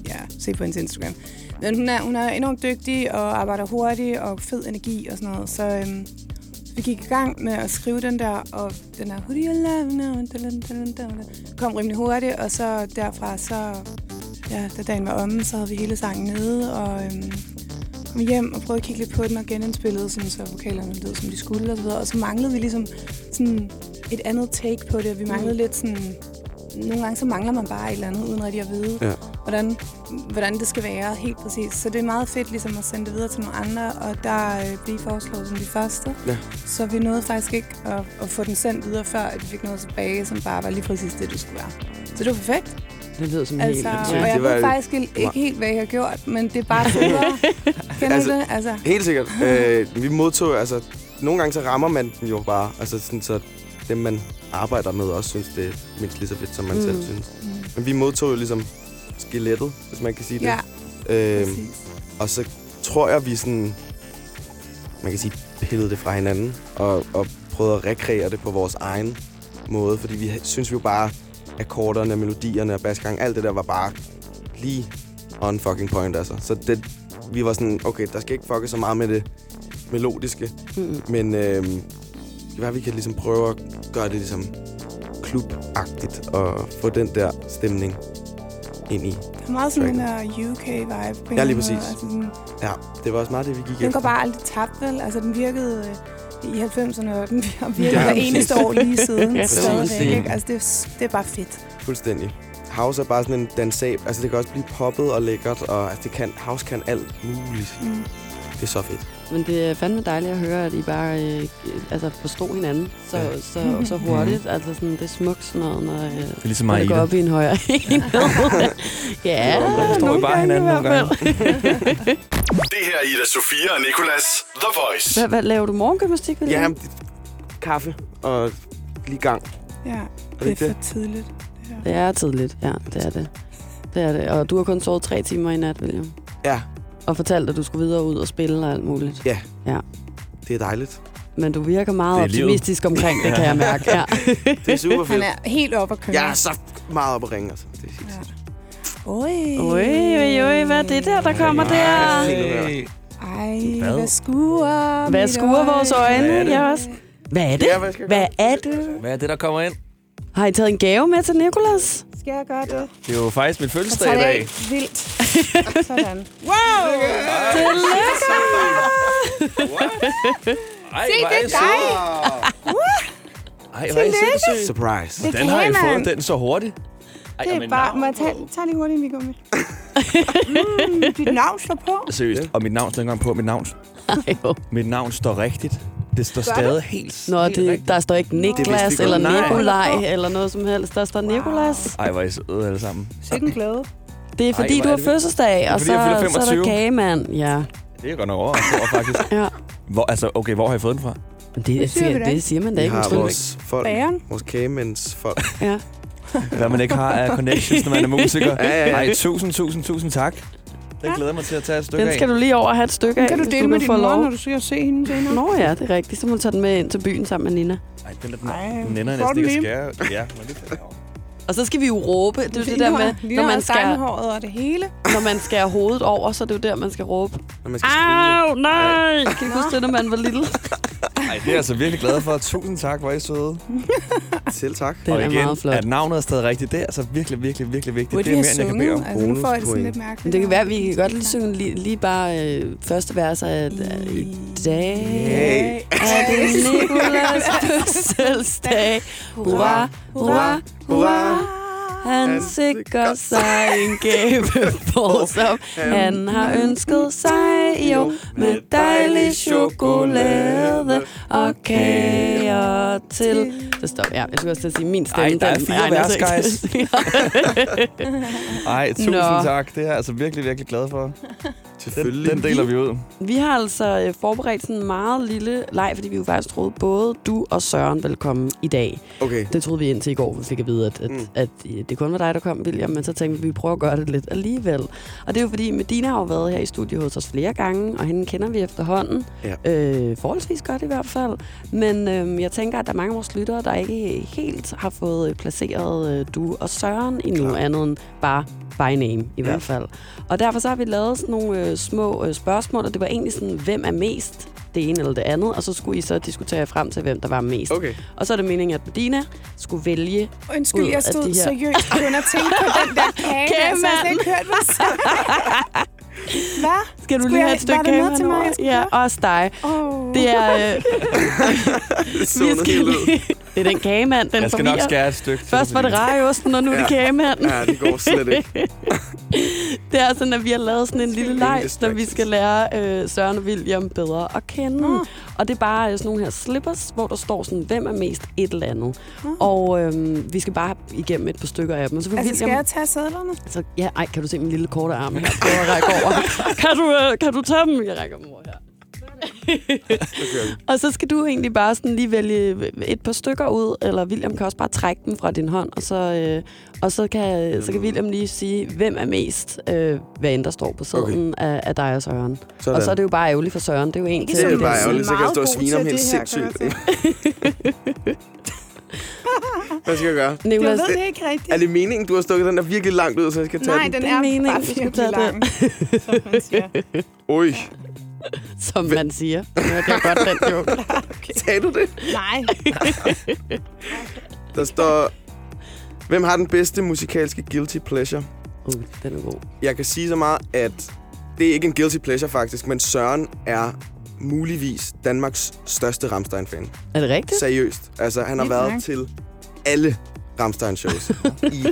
Speaker 4: ja, se på hendes Instagram. Men hun er, hun er enormt dygtig og arbejder hurtigt og fed energi og sådan noget, så øhm, vi gik i gang med at skrive den der, og den der, Who do you love now? Dun, dun, dun, dun, dun. kom rimelig hurtigt, og så derfra, så, ja, da dagen var omme, så havde vi hele sangen nede, og øhm, kom hjem og prøvede at kigge lidt på den og genindspillede, sådan, så vokalerne lød, som de skulle og så videre. Og så manglede vi ligesom sådan et andet take på det, og vi manglede lidt sådan... Nogle gange så mangler man bare et eller andet, uden rigtig at vide,
Speaker 5: Ja.
Speaker 4: hvordan, hvordan det skal være helt præcis. Så det er meget fedt ligesom at sende det videre til nogle andre, og der øh, blev I foreslået som de første.
Speaker 5: Ja.
Speaker 4: Så vi nåede faktisk ikke at, at få den sendt videre, før at vi fik noget tilbage, som bare var lige præcis det, du skulle være. Så det var perfekt.
Speaker 2: Det lyder som
Speaker 4: Altså,
Speaker 2: helt...
Speaker 5: vildt.
Speaker 4: og [LAUGHS] jeg
Speaker 5: Det var
Speaker 4: ved
Speaker 5: jo-
Speaker 4: faktisk ikke ikke helt, hvad jeg har gjort, men det er bare
Speaker 5: [LAUGHS]
Speaker 4: federe. Kender
Speaker 5: Altså-
Speaker 4: altså, det? Altså,
Speaker 5: Helt sikkert. Øh, vi modtog, altså, nogle gange så rammer man den jo bare. Altså, sådan, så dem, man arbejder med, også synes, det er mindst lige så fedt, som man
Speaker 2: Mm.
Speaker 5: mm. selv synes. Men vi modtog jo ligesom skelettet, hvis man kan sige
Speaker 4: ja,
Speaker 5: det. Øh,
Speaker 4: præcis.
Speaker 5: og så tror jeg, vi sådan, man kan sige, pillede det fra hinanden og, og prøvede at rekreere det på vores egen måde. Fordi vi synes jo bare, akkorderne, melodierne og basgangen, alt det der var bare lige on fucking point, altså. Så det, vi var sådan, okay, der skal ikke fucke så meget med det melodiske,
Speaker 2: Mm.
Speaker 5: men øh, det var, vi kan ligesom prøve at gøre det ligesom klubagtigt og få den der stemning ind i.
Speaker 4: Der er meget sådan uh, den der UK-vibe. på en
Speaker 5: Ja,
Speaker 4: måde.
Speaker 5: lige præcis.
Speaker 4: Altså, sådan,
Speaker 5: Ja, det var også meget det, vi gik
Speaker 4: den går
Speaker 5: efter.
Speaker 4: bare aldrig tabt, vel? Altså, den virkede øh, i 90'erne, og den har virket
Speaker 5: Ja,
Speaker 4: ja, hver
Speaker 5: præcis.
Speaker 4: eneste år
Speaker 5: [LAUGHS]
Speaker 4: lige siden.
Speaker 2: Ja,
Speaker 4: ja, stadigvæk,
Speaker 5: præcis.
Speaker 4: ikke? Altså, det, er- det er bare fedt.
Speaker 5: Fuldstændig. House er bare sådan en dansab. Altså, det kan også blive poppet og lækkert, og altså, det kan, house kan alt muligt.
Speaker 4: Mm.
Speaker 5: Det er så fedt.
Speaker 2: Men det er fandme dejligt at høre, at I bare øh, øh, altså forstod hinanden så,
Speaker 5: Ja.
Speaker 2: ja. så, så hurtigt. Altså sådan, det er smukt sådan noget, når, øh,
Speaker 3: Det er ligesom
Speaker 2: når
Speaker 3: mig i
Speaker 2: det går op
Speaker 3: det.
Speaker 2: i en højere [LAUGHS] enhed. ja,
Speaker 3: Der forstår I
Speaker 2: nogle
Speaker 3: bare
Speaker 2: gange i
Speaker 3: hinanden
Speaker 2: hvert
Speaker 3: nogle
Speaker 2: fald.
Speaker 3: gange.
Speaker 2: [LAUGHS]
Speaker 6: Det her er Ida Sofia og Nikolas The Voice.
Speaker 2: Hvad, hvad laver du morgengymnastik? William?
Speaker 5: Ja, det, kaffe og lige gang.
Speaker 4: Ja,
Speaker 5: Er det
Speaker 4: det
Speaker 5: ikke
Speaker 4: er
Speaker 5: det?
Speaker 4: for tidligt. Ja.
Speaker 2: Det er tidligt, ja, det er det. Det er det. Og du har kun sovet tre timer i nat, William.
Speaker 5: Ja.
Speaker 2: Og fortalt, at du skulle videre ud og spille og alt muligt.
Speaker 5: Det er dejligt.
Speaker 2: Men du virker meget
Speaker 3: Det er livet.
Speaker 2: optimistisk omkring det, kan jeg
Speaker 3: [LAUGHS]
Speaker 2: mærke. Ja.
Speaker 5: Det er super
Speaker 4: Han
Speaker 5: fedt.
Speaker 4: er helt oppe at køre.
Speaker 5: Jeg er så meget oppe at ringe, altså. Det er helt
Speaker 4: Ja.
Speaker 5: sindssygt.
Speaker 4: Oj.
Speaker 2: Oj, oj, oj, hvad er det der, der kommer der?
Speaker 3: Hey.
Speaker 4: Ej,
Speaker 3: Hvad?
Speaker 4: hvad, hvad skuer
Speaker 2: Hvad skuer vores
Speaker 3: Hvad er
Speaker 2: øjne?
Speaker 3: det?
Speaker 2: Ja, også. Hvad er det?
Speaker 5: Ja, hvad skal jeg
Speaker 2: Hvad er det?
Speaker 3: Hvad er det, der kommer ind?
Speaker 2: Har I taget en gave med til Nikolas?
Speaker 4: Skal jeg gøre det? Ja.
Speaker 3: Det er jo faktisk min fødselsdag
Speaker 4: Tag
Speaker 3: i
Speaker 4: det
Speaker 3: dag.
Speaker 4: af.
Speaker 2: [LAUGHS]
Speaker 4: Vildt. Sådan. Wow!
Speaker 2: Tillykke!
Speaker 3: Ej, hvor er I søde. Ej, hvor er I søde.
Speaker 5: Surprise.
Speaker 4: Det
Speaker 3: Hvordan har I
Speaker 4: kan man.
Speaker 3: fået den så hurtigt? Ej,
Speaker 4: Det
Speaker 3: og
Speaker 4: er
Speaker 3: med
Speaker 4: bare...
Speaker 3: navn
Speaker 4: Må jeg tage, tage lige hurtigt en mikro
Speaker 2: [LAUGHS]
Speaker 4: med? dit navn står på.
Speaker 3: på. Seriøst. Og mit navn står ikke engang på. Mit navn,
Speaker 2: Ej, jo.
Speaker 3: mit navn står rigtigt. Det står stadig helt...
Speaker 2: Nå,
Speaker 3: helt
Speaker 2: det,
Speaker 3: rigtigt.
Speaker 2: der står ikke Niklas
Speaker 5: vidste vi
Speaker 2: eller
Speaker 5: godt.
Speaker 3: Nej.
Speaker 2: Nikolaj eller noget som helst. Der står Nikolas.
Speaker 3: Ej, hvor er I søde alle sammen.
Speaker 4: Sikke en glæde.
Speaker 2: Det er
Speaker 3: Ej,
Speaker 2: fordi,
Speaker 3: hvor
Speaker 2: du
Speaker 3: er
Speaker 2: har
Speaker 3: det
Speaker 2: fødselsdag, og
Speaker 3: fordi,
Speaker 2: så,
Speaker 3: jeg fylder
Speaker 2: så er
Speaker 3: 25.
Speaker 2: der kagemand. Ja.
Speaker 3: Det er godt nok overrasket over, faktisk.
Speaker 2: ja.
Speaker 3: Hvor, altså, okay, hvor har I fået den fra?
Speaker 2: Men Det, det,
Speaker 4: siger vi
Speaker 2: siger,
Speaker 4: da
Speaker 2: det
Speaker 4: ikke.
Speaker 2: siger man da
Speaker 5: Vi
Speaker 2: ikke.
Speaker 5: har
Speaker 2: undskyld.
Speaker 5: vores folk.
Speaker 4: Bageren.
Speaker 5: Vores kagemænds folk.
Speaker 2: Ja.
Speaker 3: Hvad man ikke har af connections, når man er musiker.
Speaker 5: Ja, ja, ja.
Speaker 3: Ej, tusind, tusind, tusind tak. Den glæder jeg mig til at tage et stykke
Speaker 2: Den skal du lige over og have et stykke af,
Speaker 4: Kan du
Speaker 2: hvis
Speaker 4: dele med din
Speaker 2: få
Speaker 4: mor,
Speaker 2: lov.
Speaker 4: når du skal se hende senere?
Speaker 2: Nå ja, det er rigtigt. Så må du tage den med ind til byen sammen med Nina.
Speaker 3: af. Ej, den, der, den,
Speaker 4: Ej,
Speaker 3: den ender jeg
Speaker 4: får
Speaker 3: næsten ikke at
Speaker 4: den
Speaker 3: skære. Ja, men det er
Speaker 2: Og så skal vi jo råbe. Det er jo det der med, når man, skærer,
Speaker 4: håret og det hele.
Speaker 2: når man skærer hovedet over, så er det jo der, man skal råbe.
Speaker 5: Når man skal skrive.
Speaker 2: Au, nej! Kan I huske det, når man var lille?
Speaker 3: Ej, det er jeg altså virkelig glad for. Tusind tak, hvor er I søde.
Speaker 5: Selv tak.
Speaker 2: Den
Speaker 3: og
Speaker 2: er
Speaker 3: igen,
Speaker 2: meget flot.
Speaker 3: at navnet er stadig rigtigt, det er altså virkelig, virkelig, virkelig vigtigt.
Speaker 4: Burde
Speaker 3: det
Speaker 4: vi
Speaker 3: er
Speaker 4: have
Speaker 3: mere, end jeg kan bede om.
Speaker 4: sunget? Altså, nu får jeg det sådan
Speaker 5: Bonuspoint.
Speaker 4: lidt mærkeligt.
Speaker 2: Men det kan være, at vi kan godt lige synge lige, lige bare øh, første vers af øh, i dag.
Speaker 5: Hey.
Speaker 2: Er det Nikolas [LAUGHS] fødselsdag? Hurra, hurra, hurra. Han sikrer sig en [LAUGHS] gave på, som han har ønsket sig i år. Med dejlig chokolade og kager til. Så stop. Ja, jeg skulle også til at sige min stemme.
Speaker 3: Ej, der er
Speaker 2: den altså-
Speaker 3: fire
Speaker 2: egner
Speaker 3: vers,
Speaker 2: sig ikke
Speaker 3: guys.
Speaker 2: til at synge.
Speaker 3: Ej, tusind
Speaker 2: Nå.
Speaker 3: tak. Det er jeg altså virkelig, virkelig glad for. Den,
Speaker 5: Selvfølgelig.
Speaker 3: den deler vi ud.
Speaker 2: [LAUGHS] Vi har altså øh, forberedt sådan en meget lille leg, fordi vi jo faktisk troede både du og Søren ville komme i dag.
Speaker 5: Okay.
Speaker 2: Det troede vi indtil i går, vi fik at vide, at, at,
Speaker 5: Mm.
Speaker 2: mm. at øh, det kun var dig, der kom, William, men så tænkte vi, at vi prøver at gøre det lidt alligevel. Og det er jo fordi, Medina har jo været her i studiet hos os flere gange, og hende kender vi efterhånden.
Speaker 5: Ja.
Speaker 2: Øh, forholdsvis godt i hvert fald. Men øh, jeg tænker, at der er mange af vores lyttere, der ikke helt har fået øh, placeret øh, du og Søren i noget andet end bare by name i hvert fald. Og derfor så har vi lavet sådan nogle øh, små øh, spørgsmål, og det var egentlig sådan, hvem er mest det ene eller det andet, og så skulle I så diskutere jer frem til, hvem der var mest.
Speaker 5: Okay.
Speaker 2: Og så er det meningen, at Medina skulle vælge...
Speaker 4: Undskyld,
Speaker 2: ud
Speaker 4: jeg
Speaker 2: af
Speaker 4: stod
Speaker 2: de her.
Speaker 4: seriøst kun og tænkte på
Speaker 2: [LAUGHS]
Speaker 4: den der kage. der, så jeg har slet ikke hørt, hvad du sagde. Hvad?
Speaker 2: Skal du
Speaker 4: Skulle jeg- var det noget til mig, jeg skulle
Speaker 2: Ja, også dig.
Speaker 4: Oh.
Speaker 2: Det er... Øh,
Speaker 5: Det så helt ud.
Speaker 2: lige, [LAUGHS] Det er den kagemand, den
Speaker 3: Jeg skal nok
Speaker 2: forvirrer.
Speaker 3: skære et stykke. til
Speaker 2: Først var det
Speaker 3: fordi-
Speaker 2: rejeosten, og nu er det
Speaker 5: Ja.
Speaker 2: kagemanden.
Speaker 5: Ja, det går slet ikke.
Speaker 2: Det er sådan, at vi har lavet sådan en lille leg,
Speaker 5: Hvilke
Speaker 2: når vi skal lære øh, Søren og William bedre at kende.
Speaker 4: Nå.
Speaker 2: Og det er bare øh, sådan nogle her slippers, hvor der står sådan, hvem er mest et eller andet. Og øh, vi skal bare igennem et par stykker af dem. Og så vil
Speaker 4: Altså, skal
Speaker 2: William...
Speaker 4: jeg tage sædlerne?
Speaker 2: Så, ja, ej, kan du se min lille korte arm? Jeg prøver at række over. Kan du, øh, kan du tage dem? Jeg rækker dem over her. og så skal du egentlig bare sådan lige vælge et par stykker ud, eller William kan også bare trække dem fra din hånd, og så, øh, og så, kan, så kan
Speaker 5: Mm.
Speaker 2: William lige sige, hvem er mest, øh, hvad end der står på sædlen okay. af, af dig og Søren.
Speaker 5: Sådan.
Speaker 2: Og så er det jo bare ærgerligt for Søren, det er ligesom jo en
Speaker 4: Ikke
Speaker 2: til.
Speaker 5: det er
Speaker 4: sådan,
Speaker 5: bare
Speaker 4: er
Speaker 5: ærgerligt, så kan jeg
Speaker 4: meget
Speaker 5: stå
Speaker 4: god
Speaker 5: og svine
Speaker 4: til
Speaker 5: ham helt
Speaker 4: det her, kan jeg
Speaker 5: sindssygt.
Speaker 4: altså.
Speaker 5: [LAUGHS] Hvad skal jeg gøre?
Speaker 4: Jeg
Speaker 2: Nicolas,
Speaker 4: ved det ikke rigtigt.
Speaker 5: Er det meningen, du har stukket den der virkelig langt ud, så jeg skal tage
Speaker 4: Nej,
Speaker 5: den?
Speaker 4: den
Speaker 2: Det er
Speaker 4: er
Speaker 2: meningen,
Speaker 4: bare
Speaker 2: du skal
Speaker 4: virkelig
Speaker 2: tage den.
Speaker 4: lang, [LAUGHS] som man siger.
Speaker 5: Oj,
Speaker 2: som man siger. Nu er det godt, den joke.
Speaker 5: sagde du det?
Speaker 4: Nej,
Speaker 5: Der står... Hvem har den bedste musikalske guilty pleasure?
Speaker 2: Uh, den er god.
Speaker 5: Jeg kan sige så meget, at det er ikke en guilty pleasure faktisk, men Søren er muligvis Danmarks største Ramstein-fan.
Speaker 2: Er det rigtigt?
Speaker 5: Seriøst. Altså, han har
Speaker 4: Vildt
Speaker 5: været
Speaker 4: nok.
Speaker 5: til alle Ramstein-shows i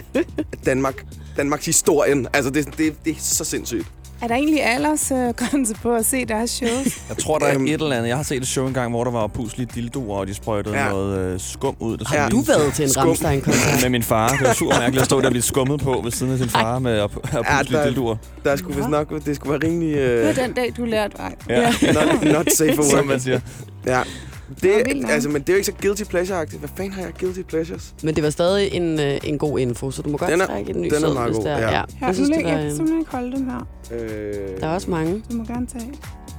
Speaker 5: Danmark. Danmarks historien. Altså, det, det, det er så sindssygt.
Speaker 4: er der egentlig aldersgrænse på at se deres shows?
Speaker 3: Jeg tror, der er
Speaker 5: Øhm.
Speaker 3: et eller andet. Jeg har set et show engang, hvor der var puslige dildoer, og de sprøjtede
Speaker 5: Ja.
Speaker 3: ja. noget øh, skum ud. Der
Speaker 5: Har
Speaker 3: sådan
Speaker 2: Du
Speaker 3: lignede-
Speaker 2: været til en
Speaker 5: Skum.
Speaker 2: Ramstein-koncert.
Speaker 3: med min far. Det var super mærkeligt at stå der og blive skummet på ved siden af sin far med at, at
Speaker 5: Ja,
Speaker 3: puslige
Speaker 5: der-
Speaker 3: dildoer.
Speaker 5: Der skulle vist nok... Det skulle være rimelig...
Speaker 4: Det
Speaker 5: Øh,
Speaker 4: var den dag, du lærte vej.
Speaker 3: Ja.
Speaker 5: not, not safe
Speaker 3: [LAUGHS]
Speaker 5: for
Speaker 3: Som
Speaker 5: work.
Speaker 3: man siger.
Speaker 5: Ja.
Speaker 4: Nå,
Speaker 5: Det,
Speaker 4: vildt nok.
Speaker 5: altså, men det er jo ikke så guilty pleasure-agtigt. Hvad fanden har jeg guilty pleasures?
Speaker 2: Men det var stadig en, øh, en god info, så du må godt
Speaker 5: Den er-
Speaker 2: trække en ny
Speaker 5: den er
Speaker 2: sæd,
Speaker 5: meget
Speaker 2: hvis
Speaker 5: god,
Speaker 2: det er.
Speaker 5: ja.
Speaker 2: Ja.
Speaker 4: Her,
Speaker 2: Jeg synes, det var,
Speaker 4: jeg kan
Speaker 2: øh,
Speaker 4: simpelthen ikke holde dem her.
Speaker 5: Øh,
Speaker 2: der er også mange.
Speaker 4: Du må gerne tage.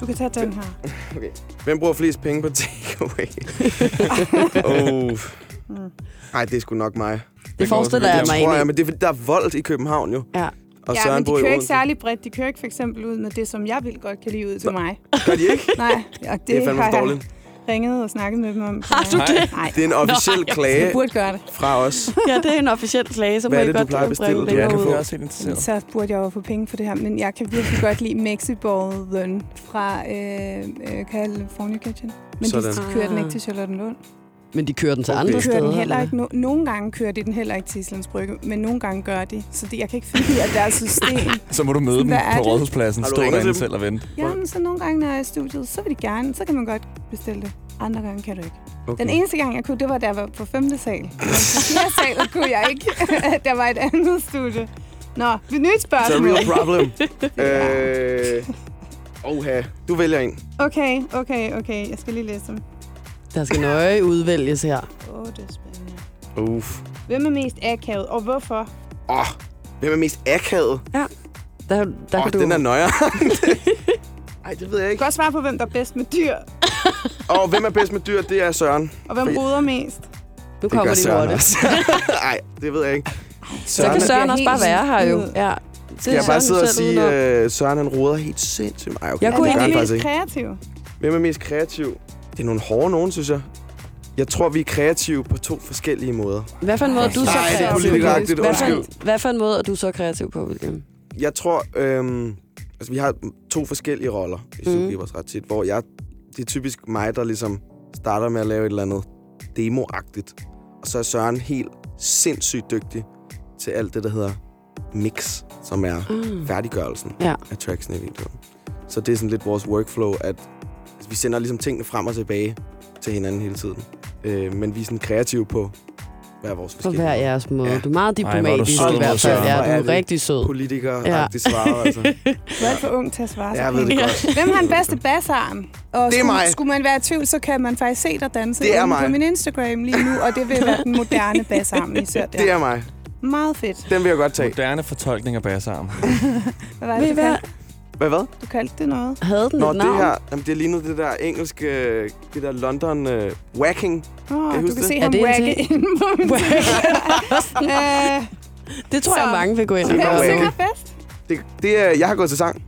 Speaker 4: Du kan tage den her.
Speaker 5: Øh, Hvem bruger flest penge på takeaway? oh. Nej, det er sgu nok mig.
Speaker 2: Det forestiller jeg
Speaker 5: Det
Speaker 2: mig
Speaker 5: tror jeg,
Speaker 2: egentlig.
Speaker 5: men det er, fordi der er vold i København jo.
Speaker 2: Ja.
Speaker 5: Og
Speaker 4: ja, men de
Speaker 5: bor i
Speaker 4: kører ikke
Speaker 5: Odense.
Speaker 4: særlig bredt. De kører ikke for eksempel ud med det, som jeg vil godt kan lide ud til mig.
Speaker 5: Gør de ikke?
Speaker 4: Nej, og det,
Speaker 5: Det er fandme
Speaker 4: har
Speaker 5: for
Speaker 4: jeg
Speaker 5: dårligt.
Speaker 4: ringet og snakket med dem om.
Speaker 2: Har du det?
Speaker 4: Nej,
Speaker 5: Det er en officiel
Speaker 2: Nå, altså, ja.
Speaker 4: jeg
Speaker 5: klage
Speaker 4: burde gøre det.
Speaker 5: fra os.
Speaker 2: Ja, det er en officiel klage, så må
Speaker 5: Hvad er
Speaker 2: I
Speaker 5: det, du
Speaker 2: godt
Speaker 5: plejer at
Speaker 2: bringe
Speaker 5: bestille?
Speaker 2: den
Speaker 5: Ja,
Speaker 3: Jeg
Speaker 5: det
Speaker 3: kan
Speaker 2: ud.
Speaker 3: få også helt interesseret.
Speaker 4: Så burde jeg jo få penge for det her, men jeg kan virkelig godt lide Mexiballen fra øh, øh, California Kitchen. Men de,
Speaker 5: Sådan.
Speaker 4: de kører den ikke
Speaker 2: Ah.
Speaker 4: til Charlottenlund.
Speaker 2: Men de kører den til
Speaker 5: Okay.
Speaker 2: andre
Speaker 5: Kører
Speaker 4: Kører
Speaker 2: steder.
Speaker 4: den heller
Speaker 2: eller?
Speaker 4: ikke. No- nogle gange kører de den heller ikke til Islands Brygge, men nogle gange gør de. Så det, jeg kan ikke finde ud af deres system.
Speaker 3: Så må du møde dem
Speaker 4: Hvad er
Speaker 3: på
Speaker 4: det?
Speaker 3: Rådhuspladsen,
Speaker 5: Har du
Speaker 3: stå
Speaker 5: ringet
Speaker 3: derinde
Speaker 5: til dem?
Speaker 3: selv og vente.
Speaker 4: Jamen, så nogle gange, når jeg er i studiet, så vil de gerne. Så kan man godt bestille det. Andre gange kan du ikke. Den eneste gang, jeg kunne, det var, da jeg var på femte sal. Men på fjerde sal kunne jeg ikke. [LAUGHS] der var et andet studie. Nå, et nyt
Speaker 5: It's a
Speaker 4: spørgsmål.
Speaker 5: real
Speaker 2: [LAUGHS]
Speaker 5: problem. øh, oha. Du vælger en.
Speaker 4: Okay, okay, okay. Jeg skal lige læse dem.
Speaker 2: Der skal nøje udvælges her.
Speaker 4: Åh, oh, det er spændende.
Speaker 5: Uff.
Speaker 4: Hvem er mest akavet, og hvorfor?
Speaker 5: Åh, oh, hvem er mest akavet?
Speaker 2: Der, der
Speaker 5: Åh,
Speaker 2: kan
Speaker 5: oh,
Speaker 2: du...
Speaker 5: den er nøjere.
Speaker 2: [LAUGHS]
Speaker 5: Ej, det ved jeg
Speaker 4: Du
Speaker 5: ikke.
Speaker 4: kan også svare på, hvem der er bedst med dyr,
Speaker 5: Og hvem er bedst med dyr? Det er Søren.
Speaker 4: og hvem
Speaker 5: For jeg-
Speaker 4: roder mest.
Speaker 2: nu kommer de over det.
Speaker 5: [LAUGHS] Nej, det ved jeg ikke.
Speaker 2: Så kan
Speaker 5: Søren,
Speaker 2: Søren også bare
Speaker 4: Helt
Speaker 2: være her jo.
Speaker 4: ude.
Speaker 2: Ja. Det
Speaker 5: Skal jeg bare
Speaker 2: Søren
Speaker 5: sidde og
Speaker 2: selv
Speaker 5: sige, øh,
Speaker 2: udenom.
Speaker 5: at Søren han roder helt sindssygt meget? Okay,
Speaker 2: Jeg
Speaker 5: det
Speaker 2: kunne
Speaker 5: gør
Speaker 4: er
Speaker 5: han
Speaker 4: de
Speaker 5: faktisk
Speaker 4: mest
Speaker 5: ikke.
Speaker 4: kreative?
Speaker 5: Hvem er mest kreativ? Det er nogle hårde nogen, synes jeg. Jeg tror, vi er kreative på to forskellige måder.
Speaker 2: Hvad for en måde er du så
Speaker 5: Nej, det er
Speaker 2: kreativ på?
Speaker 5: politikeragtigt.
Speaker 2: Hvad for,
Speaker 5: Undskyld.
Speaker 2: en, hvad for en måde er du så kreativ på, William?
Speaker 5: Jeg tror, øhm, altså, vi har to forskellige roller i
Speaker 2: Mhm.
Speaker 5: Sugibers ret tit, hvor jeg, det er typisk mig, der ligesom starter med at lave et eller andet demoagtigt. Og så er Søren helt sindssygt dygtig til alt det, der hedder mix, som er
Speaker 2: Mm.
Speaker 5: færdiggørelsen
Speaker 2: Ja.
Speaker 5: af tracksene i videoen. Så det er sådan lidt vores workflow, at altså, vi sender ligesom tingene frem og tilbage til hinanden hele tiden. Øh, men vi er sådan kreative på hver vores
Speaker 2: På
Speaker 5: forskellige
Speaker 2: hver jeres måde.
Speaker 5: Ja.
Speaker 2: Du er meget
Speaker 3: Ej, hvor er du
Speaker 2: diplomatisk
Speaker 3: sød
Speaker 2: i
Speaker 5: mod
Speaker 2: hvert fald.
Speaker 5: Søren.
Speaker 2: Ja,
Speaker 5: Hvor er
Speaker 2: du
Speaker 5: det
Speaker 2: er rigtig sød.
Speaker 5: politikere-agtige ja. svarer.
Speaker 2: [LAUGHS]
Speaker 5: Altså.
Speaker 4: Du er alt for ung til at svare så
Speaker 5: Jeg ved det
Speaker 4: pænt.
Speaker 5: godt.
Speaker 4: Hvem har den bedste bassarm? Og
Speaker 5: Det er
Speaker 4: skulle,
Speaker 5: mig.
Speaker 4: skulle man være i tvivl, så kan man faktisk se dig danse
Speaker 5: Det er
Speaker 4: inde på
Speaker 5: mig.
Speaker 4: min Instagram lige nu, og det vil være den moderne bassarm, I ser der.
Speaker 5: [LAUGHS] Det er mig.
Speaker 4: Meget fedt.
Speaker 5: Den vil jeg godt tage.
Speaker 3: Moderne fortolkning af bassarm.
Speaker 4: Hvad var
Speaker 2: Ved
Speaker 4: det,
Speaker 2: I
Speaker 4: du
Speaker 2: hvad?
Speaker 4: kaldte?
Speaker 5: Hvad, hvad?
Speaker 4: Du kaldte det noget.
Speaker 2: Havde den
Speaker 5: Nå,
Speaker 2: et navn?
Speaker 5: det her, jamen, det lignede det der engelske, øh, det der London uh, whacking.
Speaker 4: Åh, du
Speaker 5: jeg huske
Speaker 4: kan
Speaker 5: det?
Speaker 4: se
Speaker 2: Er
Speaker 4: ham
Speaker 2: det en
Speaker 4: wagge
Speaker 2: ting?
Speaker 4: ind på min Øh,
Speaker 2: Det tror jeg,
Speaker 4: Så-
Speaker 2: mange vil gå ind og
Speaker 4: [LAUGHS]
Speaker 5: Det er
Speaker 4: Hvem
Speaker 5: jo
Speaker 2: gøre
Speaker 5: ikke-
Speaker 2: nu.
Speaker 4: synger bedst?
Speaker 5: Det, det er, jeg har gået til sang.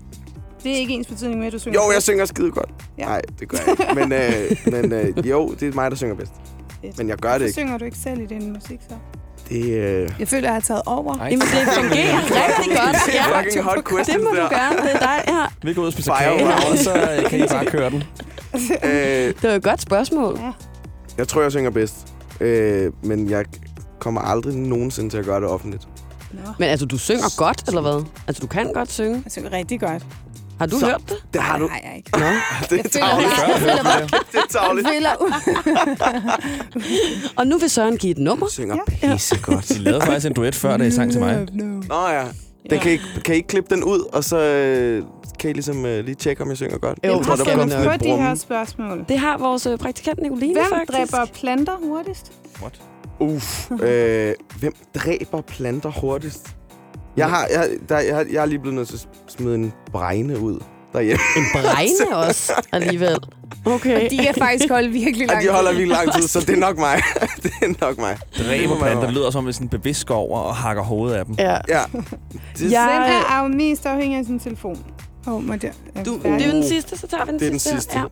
Speaker 4: Det er ikke ens betydning med, at du synger
Speaker 5: Jo, jeg
Speaker 4: bedst.
Speaker 5: synger skide godt.
Speaker 4: Ja.
Speaker 5: Nej, det gør jeg ikke. Men, øh, men øh, jo, det er mig, der synger bedst.
Speaker 4: Fedt.
Speaker 5: Men jeg gør det
Speaker 4: Så
Speaker 5: ikke.
Speaker 4: synger du ikke selv i din musik, så?
Speaker 5: Det øh,
Speaker 4: Jeg føler, jeg har taget over.
Speaker 3: Ej.
Speaker 2: Jamen, det fungerer rigtig godt. Ja,
Speaker 5: fucking hot
Speaker 2: det
Speaker 5: questions
Speaker 2: må du
Speaker 5: der.
Speaker 2: gerne. Det er dig. Ja.
Speaker 3: Vi går ud og spiser
Speaker 5: Fire
Speaker 3: kage,
Speaker 5: round.
Speaker 3: og så øh, kan I bare køre den.
Speaker 5: Øh,
Speaker 2: Det var et godt spørgsmål.
Speaker 5: jeg tror, jeg synger bedst. Øh, men jeg kommer aldrig nogensinde til at gøre det offentligt.
Speaker 4: Nå.
Speaker 2: Men altså, du synger godt, eller hvad? Altså, du kan godt synge.
Speaker 4: Jeg synger rigtig godt.
Speaker 2: Har du
Speaker 5: Så-
Speaker 2: hørt det?
Speaker 5: Det har du.
Speaker 4: Nej, jeg ikke.
Speaker 2: Nå.
Speaker 5: [LAUGHS] Det er tavligt. Det er tavligt.
Speaker 4: Viller ud.
Speaker 2: Og nu vil Søren give et nummer.
Speaker 5: Synger pissegodt.
Speaker 3: De lavede faktisk en duet før, da I sang til mig.
Speaker 4: No.
Speaker 5: Nå ja. Den kan, I, kan I ikke klippe den ud, og så øh, kan I ligesom øh, lige tjekke, om jeg synger godt?
Speaker 2: Jo,
Speaker 5: jeg
Speaker 4: Hvor
Speaker 2: der
Speaker 4: skal
Speaker 5: kom
Speaker 4: man
Speaker 5: sådan
Speaker 4: få
Speaker 5: lidt
Speaker 4: de her
Speaker 5: brummen.
Speaker 4: spørgsmål?
Speaker 2: Det har vores øh, praktikant Nicoline
Speaker 4: Hvem
Speaker 2: faktisk.
Speaker 4: dræber planter hurtigst?
Speaker 5: Uff. Øh, hvem dræber planter hurtigst? Jeg har, jeg, der, jeg, har- jeg er lige blevet nødt til at smide en bregne ud derhjemme.
Speaker 2: En bregne også alligevel. Okay.
Speaker 4: De kan faktisk holde virkelig
Speaker 5: Og
Speaker 4: langt.
Speaker 5: de holder virkelig lang tid, så det er
Speaker 4: [LAUGHS]
Speaker 5: nok mig. [LAUGHS] det er nok mig.
Speaker 3: Dræber planter. Det lyder som, hvis en bevidst går over og hakker hovedet af dem.
Speaker 2: Ja.
Speaker 5: Ja. Det,
Speaker 2: Ja.
Speaker 5: ja.
Speaker 4: Hvem
Speaker 2: Ej.
Speaker 4: er af mest afhængig af sin telefon? Åh, oh, må det...
Speaker 5: Du-
Speaker 2: Det er jo
Speaker 4: den...
Speaker 2: den sidste, så tager vi den
Speaker 5: Det er den
Speaker 2: sidste.
Speaker 5: sidste.
Speaker 2: Ja.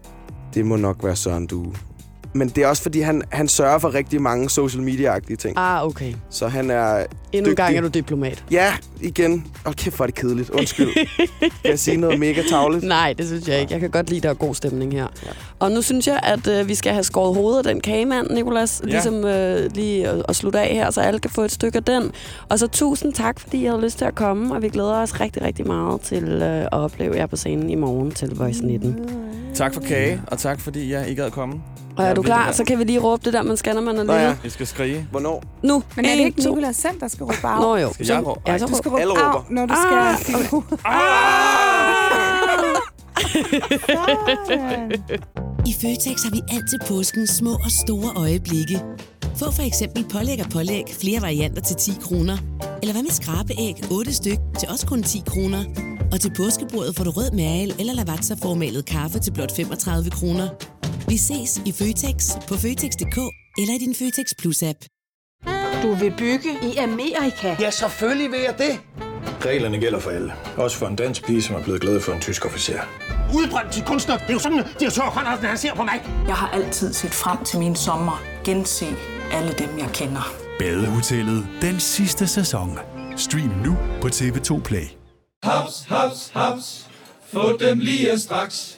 Speaker 5: det må nok være Søren Due. Men det er også, fordi han, han sørger for rigtig mange social media-agtige ting.
Speaker 2: Ah, okay.
Speaker 5: Så han er...
Speaker 2: Endnu en gang
Speaker 5: Dygtig.
Speaker 2: er du diplomat.
Speaker 5: Ja, igen. Åh, kæft, hvor er det kedeligt. Undskyld. Kan jeg sige noget mega tavligt?
Speaker 2: [LAUGHS] Nej, det synes jeg ikke. Jeg kan godt lide, at der er god stemning her. Og nu synes jeg, at øh, vi skal have skåret hovedet af den kagemand, Nicolas. Ja.
Speaker 3: Ja.
Speaker 2: Ligesom øh, lige at, at slutte af her, så alle kan få et stykke af den. Og så tusind tak, fordi I havde lyst til at komme. Og vi glæder os rigtig, rigtig meget til øh, at opleve jer på scenen i morgen til Voice 19.
Speaker 3: Tak for kage, og tak fordi jeg ikke gad komme.
Speaker 2: Og er
Speaker 3: Jeg
Speaker 2: du
Speaker 3: vil
Speaker 2: klar,
Speaker 3: gerne.
Speaker 2: så kan vi lige råbe det der, man scanner, man er
Speaker 5: Nå
Speaker 2: lille.
Speaker 5: ja.
Speaker 3: Vi skal skrige.
Speaker 5: Hvornår?
Speaker 2: Nu,
Speaker 4: Men er det
Speaker 2: en,
Speaker 4: ikke
Speaker 2: to.
Speaker 4: Nicolas selv, der skal råbe af?
Speaker 2: Nå jo.
Speaker 3: Skal
Speaker 2: Så-
Speaker 3: jeg råbe?
Speaker 2: Ja, så
Speaker 4: Du
Speaker 2: råb.
Speaker 4: skal råbe
Speaker 5: Alle
Speaker 4: af,
Speaker 5: råber.
Speaker 4: når du skal...
Speaker 2: Ah,
Speaker 4: Sådan.
Speaker 7: I Føtex har vi altid påskens små og store øjeblikke. Få for eksempel pålæg og pålæg flere varianter til 10 kroner. Eller hvad med skrabeæg 8 styk til også kun 10 kroner. Og til påskebordet får du rød mal eller lavatserformalet kaffe til blot 35 kroner. Vi ses i Føtex på Føtex.dk eller i din Føtex Plus-app.
Speaker 8: Reglerne gælder for alle. Også for en dansk pige, som er blevet glad for en tysk officer.
Speaker 9: udbrændt til kunstner. Det er jo sådan, at de har tørt hånden, han ser på mig.
Speaker 10: Jeg har altid set frem til min sommer. Gense alle dem, jeg kender.
Speaker 11: Badehotellet den sidste sæson. Stream nu på TV2 Play.
Speaker 9: Haps, haps, haps. Få dem lige straks.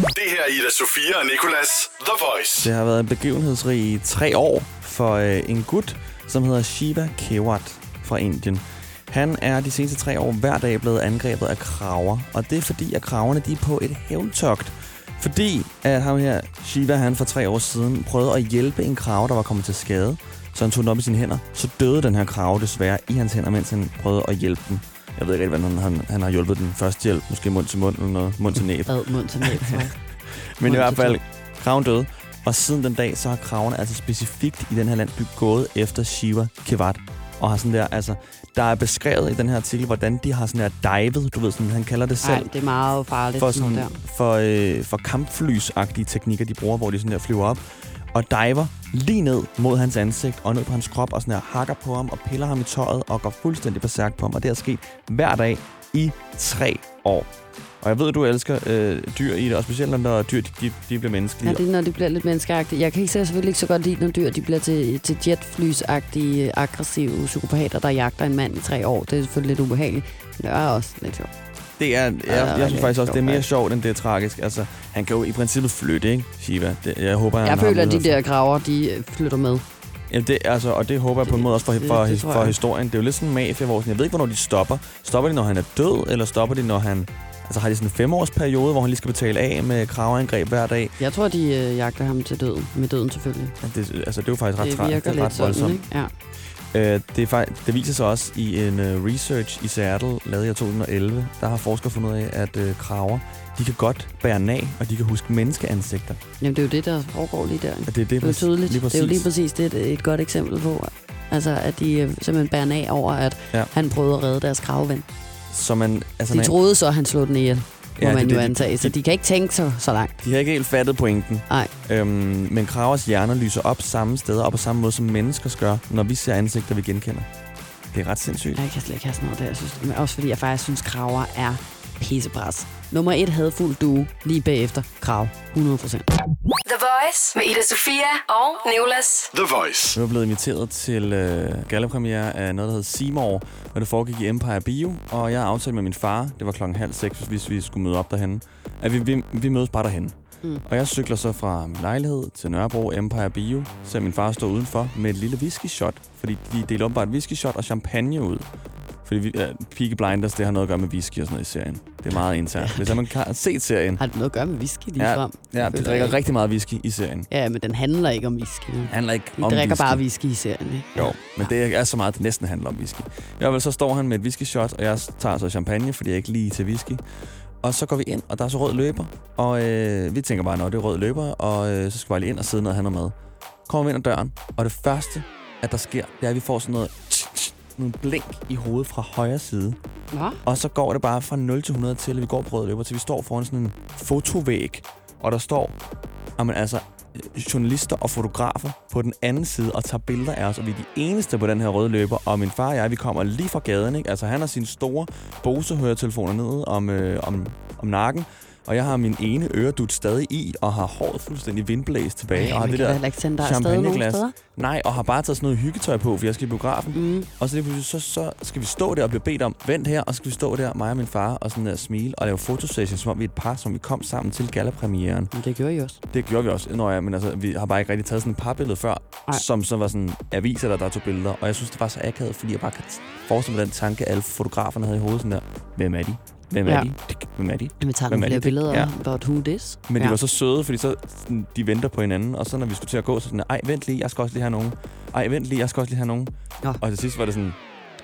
Speaker 6: Det her er Ida Sofia og Nikolas The Voice.
Speaker 3: Det har været en begivenhedsrig i tre år for øh, en gut, som hedder Shiva Kewat fra Indien. Han er de seneste tre år hver dag blevet angrebet af kraver, og det er fordi, at kraverne de er på et hævntogt. Fordi at ham her, Shiva, han for tre år siden prøvede at hjælpe en krave, der var kommet til skade. Så han tog den op i sine hænder, så døde den her krave desværre i hans hænder, mens han prøvede at hjælpe den. Jeg ved ikke rigtig, hvordan han, han har hjulpet den første hjælp. Måske mund til mund eller noget, mund til næb.
Speaker 2: Ad mund til næb, tror
Speaker 5: [LAUGHS]
Speaker 2: jeg.
Speaker 3: Men i
Speaker 2: Mund
Speaker 3: hvert
Speaker 2: til
Speaker 3: fald, kraven døde. Og siden den dag, så har kravene altså specifikt i den her landsby gået efter Shiva Kevat. Og har sådan der, altså, der er beskrevet i den her artikel, hvordan de har sådan der divet, du ved sådan, han kalder det
Speaker 2: Ej,
Speaker 3: selv,
Speaker 2: det er meget farligt.
Speaker 3: for,
Speaker 2: sådan
Speaker 3: sådan,
Speaker 2: noget
Speaker 3: for, øh, for kampflysagtige teknikker, de bruger, hvor de sådan der flyver op og diver lige ned mod hans ansigt og ned på hans krop og sådan der hakker på ham og piller ham i tøjet og går fuldstændig berserk på ham. Og det er sket hver dag i tre år. Og jeg ved, at du elsker øh, dyr i det, og specielt når dyr de, de, de bliver
Speaker 2: Ja,
Speaker 3: menneskelige.
Speaker 2: det er, når de bliver lidt menneskeagtige. Jeg kan ikke så- selvfølgelig ikke så godt lide, når dyr de bliver til, til jetflysagtige, aggressive psykopater, der jagter en mand i tre år. Det er selvfølgelig lidt ubehageligt, men det er også lidt sjovt.
Speaker 3: Det er, jeg, jeg,
Speaker 2: det er
Speaker 3: jeg synes faktisk
Speaker 2: sjovt,
Speaker 3: også, det er mere
Speaker 2: faktisk.
Speaker 3: sjovt, end det er tragisk. Altså, han kan jo i princippet flytte, ikke, Shiva? Det, jeg håber, han
Speaker 2: Jeg
Speaker 3: har
Speaker 2: føler, at de
Speaker 3: mulighed
Speaker 2: der graver, de øh, flytter med.
Speaker 3: for- Jamen, det, altså, og det håber jeg på en
Speaker 2: Det-
Speaker 3: måde også for,
Speaker 2: det-
Speaker 3: for,
Speaker 2: det
Speaker 3: det,
Speaker 2: tror
Speaker 3: for,
Speaker 2: jeg.
Speaker 3: historien. Det er jo lidt sådan en mafia, hvor sådan, jeg ved ikke, hvornår de stopper. Stopper de, når han er død, eller stopper de, når han... Altså, har de sådan en femårsperiode, hvor han lige skal betale af med kraveangreb hver dag?
Speaker 2: Jeg tror, de øh, jagter ham til døden. Med døden selvfølgelig.
Speaker 3: Ja, Det, altså, det er jo faktisk ret
Speaker 2: det
Speaker 3: tra-
Speaker 2: virker
Speaker 3: det er
Speaker 2: lidt
Speaker 3: ret voldsomt.
Speaker 2: sådan, ikke? Ja.
Speaker 3: Øh, det, er fakt- det viser sig også i en øh, research i Seattle, lavet i år 2011. Der har forskere fundet ud af, at øh, kraver, de kan godt bære nag, og de kan huske menneskeansigter.
Speaker 2: Jamen, det er jo det, der foregår lige der.
Speaker 3: Og det er det,
Speaker 2: Det er jo tydeligt.
Speaker 3: Lige
Speaker 2: det er jo lige præcis det, det er et godt eksempel på. Altså, at de øh, simpelthen bærer den af over, at
Speaker 3: Ja.
Speaker 2: ja. han prøvede at redde deres kravven.
Speaker 3: Så man, altså,
Speaker 2: De
Speaker 3: man,
Speaker 2: troede så, at han slog den ihjel. må
Speaker 3: det er
Speaker 2: man
Speaker 3: det,
Speaker 2: jo
Speaker 3: de-
Speaker 2: antage. Så de kan ikke tænke så, så langt.
Speaker 3: De har ikke helt fattet pointen.
Speaker 2: Nej.
Speaker 3: Øhm, men kravers hjerner lyser op samme steder og på samme måde, som menneskers gør, når vi ser ansigter, vi genkender. Det er ret sindssygt.
Speaker 2: Jeg kan slet ikke have sådan noget der. Jeg synes, men også fordi jeg faktisk synes, kraver er pissebræs. Nummer et havde fuld due, lige bagefter krav. 100 procent.
Speaker 1: The Voice med Ida Sofia og Nicolas.
Speaker 3: The Voice. Jeg var blevet inviteret til øh, gallepremiere af noget, der hed Seymour, og det foregik i Empire Bio, og jeg aftalte med min far, det var klokken halv seks, hvis vi skulle møde op derhen, at vi, vi, vi mødes bare derhen.
Speaker 2: Mm.
Speaker 3: Mm. Og jeg cykler så fra min lejlighed til Nørrebro Empire Bio, ser min far stå udenfor med et lille whisky-shot, fordi de deler åbenbart whisky-shot og champagne ud. Fordi vi, uh, Peaky Blinders, det har noget at gøre med whisky og sådan noget i serien. Det er meget internt. Hvis man har set serien...
Speaker 2: Har det noget at gøre med whisky
Speaker 3: ja,
Speaker 2: ligefrem?
Speaker 3: Ja,
Speaker 2: Føler
Speaker 3: de drikker
Speaker 2: jeg.
Speaker 3: rigtig meget whisky i serien.
Speaker 2: Ja, men den handler ikke om whisky. Den
Speaker 3: handler ikke
Speaker 2: De
Speaker 3: om
Speaker 2: drikker
Speaker 3: whisky.
Speaker 2: bare whisky i serien, ikke?
Speaker 3: Jo, men det er så meget, det næsten handler om whisky. I hvert fald så står han med et whisky shot, og jeg tager så champagne, fordi jeg ikke lige til whisky. Og så går vi ind, og der er så rød løber. Og øh, vi tænker bare, når det er rød løber, og øh, så skal vi bare lige ind og sidde ned og have noget mad. Kommer vi ind ad døren, og det første, at der sker, det er, at vi får sådan noget nogle blink i hovedet fra højre side.
Speaker 2: Nå.
Speaker 3: Og så går det bare fra 0 til 100 til, at vi går på rød løber, til vi står foran sådan en fotovæg, og der står, jamen altså, øh, journalister og fotografer på den anden side og tager billeder af os, og vi er de eneste på den her røde løber, og min far og jeg, vi kommer lige fra gaden, ikke? Altså, han har sine store Bose-høretelefoner nede om, øh, om, om nakken, og jeg har min ene øredut stadig i, og har håret fuldstændig vindblæst tilbage,
Speaker 2: Ej,
Speaker 3: og har
Speaker 2: man
Speaker 3: det
Speaker 2: kan da
Speaker 3: der
Speaker 2: heller ikke sende dig afsted nogen
Speaker 3: champagneglas.
Speaker 2: steder.
Speaker 3: Nej, og har bare taget sådan noget hyggetøj på, for jeg skal i biografen.
Speaker 2: Mm.
Speaker 3: Og så, lige pludselig, så, så skal vi stå der og blive bedt om, vent her, og så skal vi stå der, mig og min far, og sådan der smile og lave fotosession, som om vi er et par, som vi kom sammen til gallapremieren.
Speaker 2: Det gjorde I også.
Speaker 3: Det gjorde vi også. Nå ja, men altså, vi har bare ikke rigtig taget sådan et par billede før,
Speaker 2: Ej.
Speaker 3: Ej. som så var sådan aviser, der, der tog billeder. Og jeg synes, det var så akavet, fordi jeg bare kan t- forestille mig den tanke, alle fotograferne havde i hovedet sådan der, hvem er de? Hvem er
Speaker 2: Ja.
Speaker 3: de? Tik, Hvem er de?
Speaker 2: Vi tager
Speaker 3: Hvem
Speaker 2: nogle flere
Speaker 3: er de? Tik,
Speaker 2: billeder ja. about who this.
Speaker 3: men de
Speaker 2: ja.
Speaker 3: var så søde, fordi så, sådan, de venter på hinanden, og så når vi skulle til at gå, så sådan, ej, vent lige, jeg skal også lige have nogen. Ej, vent lige, jeg skal også lige have nogen.
Speaker 2: Nå.
Speaker 3: Og til sidst var det sådan,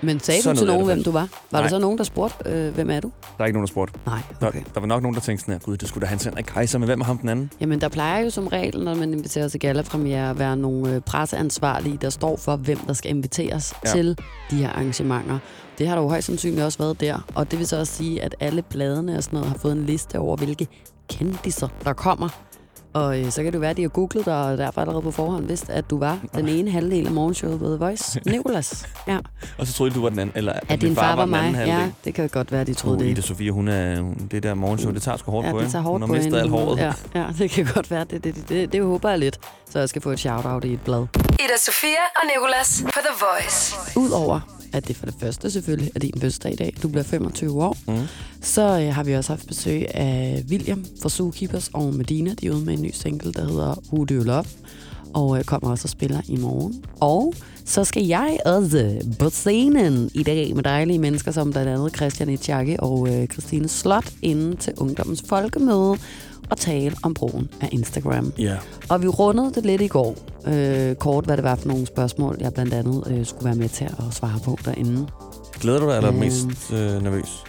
Speaker 2: Men sagde
Speaker 3: Sådan
Speaker 2: du til
Speaker 3: noget er
Speaker 2: nogen,
Speaker 3: det
Speaker 2: hvem du var? Var Nej. der
Speaker 3: Nej.
Speaker 2: så nogen, der spurgte, øh, hvem er du?
Speaker 3: der er ikke nogen, der spurgte.
Speaker 2: Nej,
Speaker 3: okay. der, der, var nok nogen, der tænkte sådan her, gud, det skulle da Hans Henrik Kaiser, men hvem er ham den anden?
Speaker 2: Jamen, der plejer jo som regel, når man inviterer til gallapremiere, at være nogle øh, presseansvarlige, der står for, hvem der skal inviteres ja.
Speaker 3: Ja.
Speaker 2: til de her arrangementer. Det har der jo højst sandsynligt også været der. Og det vil så også sige, at alle bladene og sådan noget har fået en liste over, hvilke kendiser, der kommer. Og øh, så kan det jo være, at de har googlet dig, og derfor allerede på forhånd vidste, at du var den ene halvdel af morgenshowet på The [LAUGHS] Voice. Nicolas. Ja.
Speaker 3: Og så troede de, du var den anden, eller
Speaker 2: At din
Speaker 3: min
Speaker 2: far var
Speaker 3: den anden
Speaker 2: mig.
Speaker 3: halvdel.
Speaker 2: Ja, det kan godt være, de troede
Speaker 3: Uh,
Speaker 2: det.
Speaker 3: Ida Sofia, hun er, hun- det der morgenshow, det tager sgu hårdt
Speaker 2: ja,
Speaker 3: på
Speaker 2: det tager hårdt
Speaker 3: hun
Speaker 2: på
Speaker 3: har mistet alt håret.
Speaker 2: Ja, ja, det kan godt være. Det, det, det, det, det håber jeg lidt, så jeg skal få et shout-out i et blad.
Speaker 1: Ida Sofia og Nicolas på The Voice.
Speaker 2: Udover at det for det første selvfølgelig er din fødselsdag i dag, du bliver 25 år, mm. så øh, har vi også haft besøg af William fra Zookeepers og Medina. De er ude med en ny single, der hedder Who Do You Love, og øh, kommer også og spiller i morgen. Og så skal jeg også på scenen i dag med dejlige mennesker som blandt andet Christian Itchaki og øh, Christine Slot inden til Ungdommens Folkemøde og tale om brugen af Instagram.
Speaker 3: Ja.
Speaker 2: Og vi rundede det lidt i går, øh, kort hvad det var for nogle spørgsmål, jeg blandt andet øh, skulle være med til at svare på derinde.
Speaker 3: Glæder du dig, eller er du
Speaker 2: Øhm.
Speaker 3: mest øh, nervøs?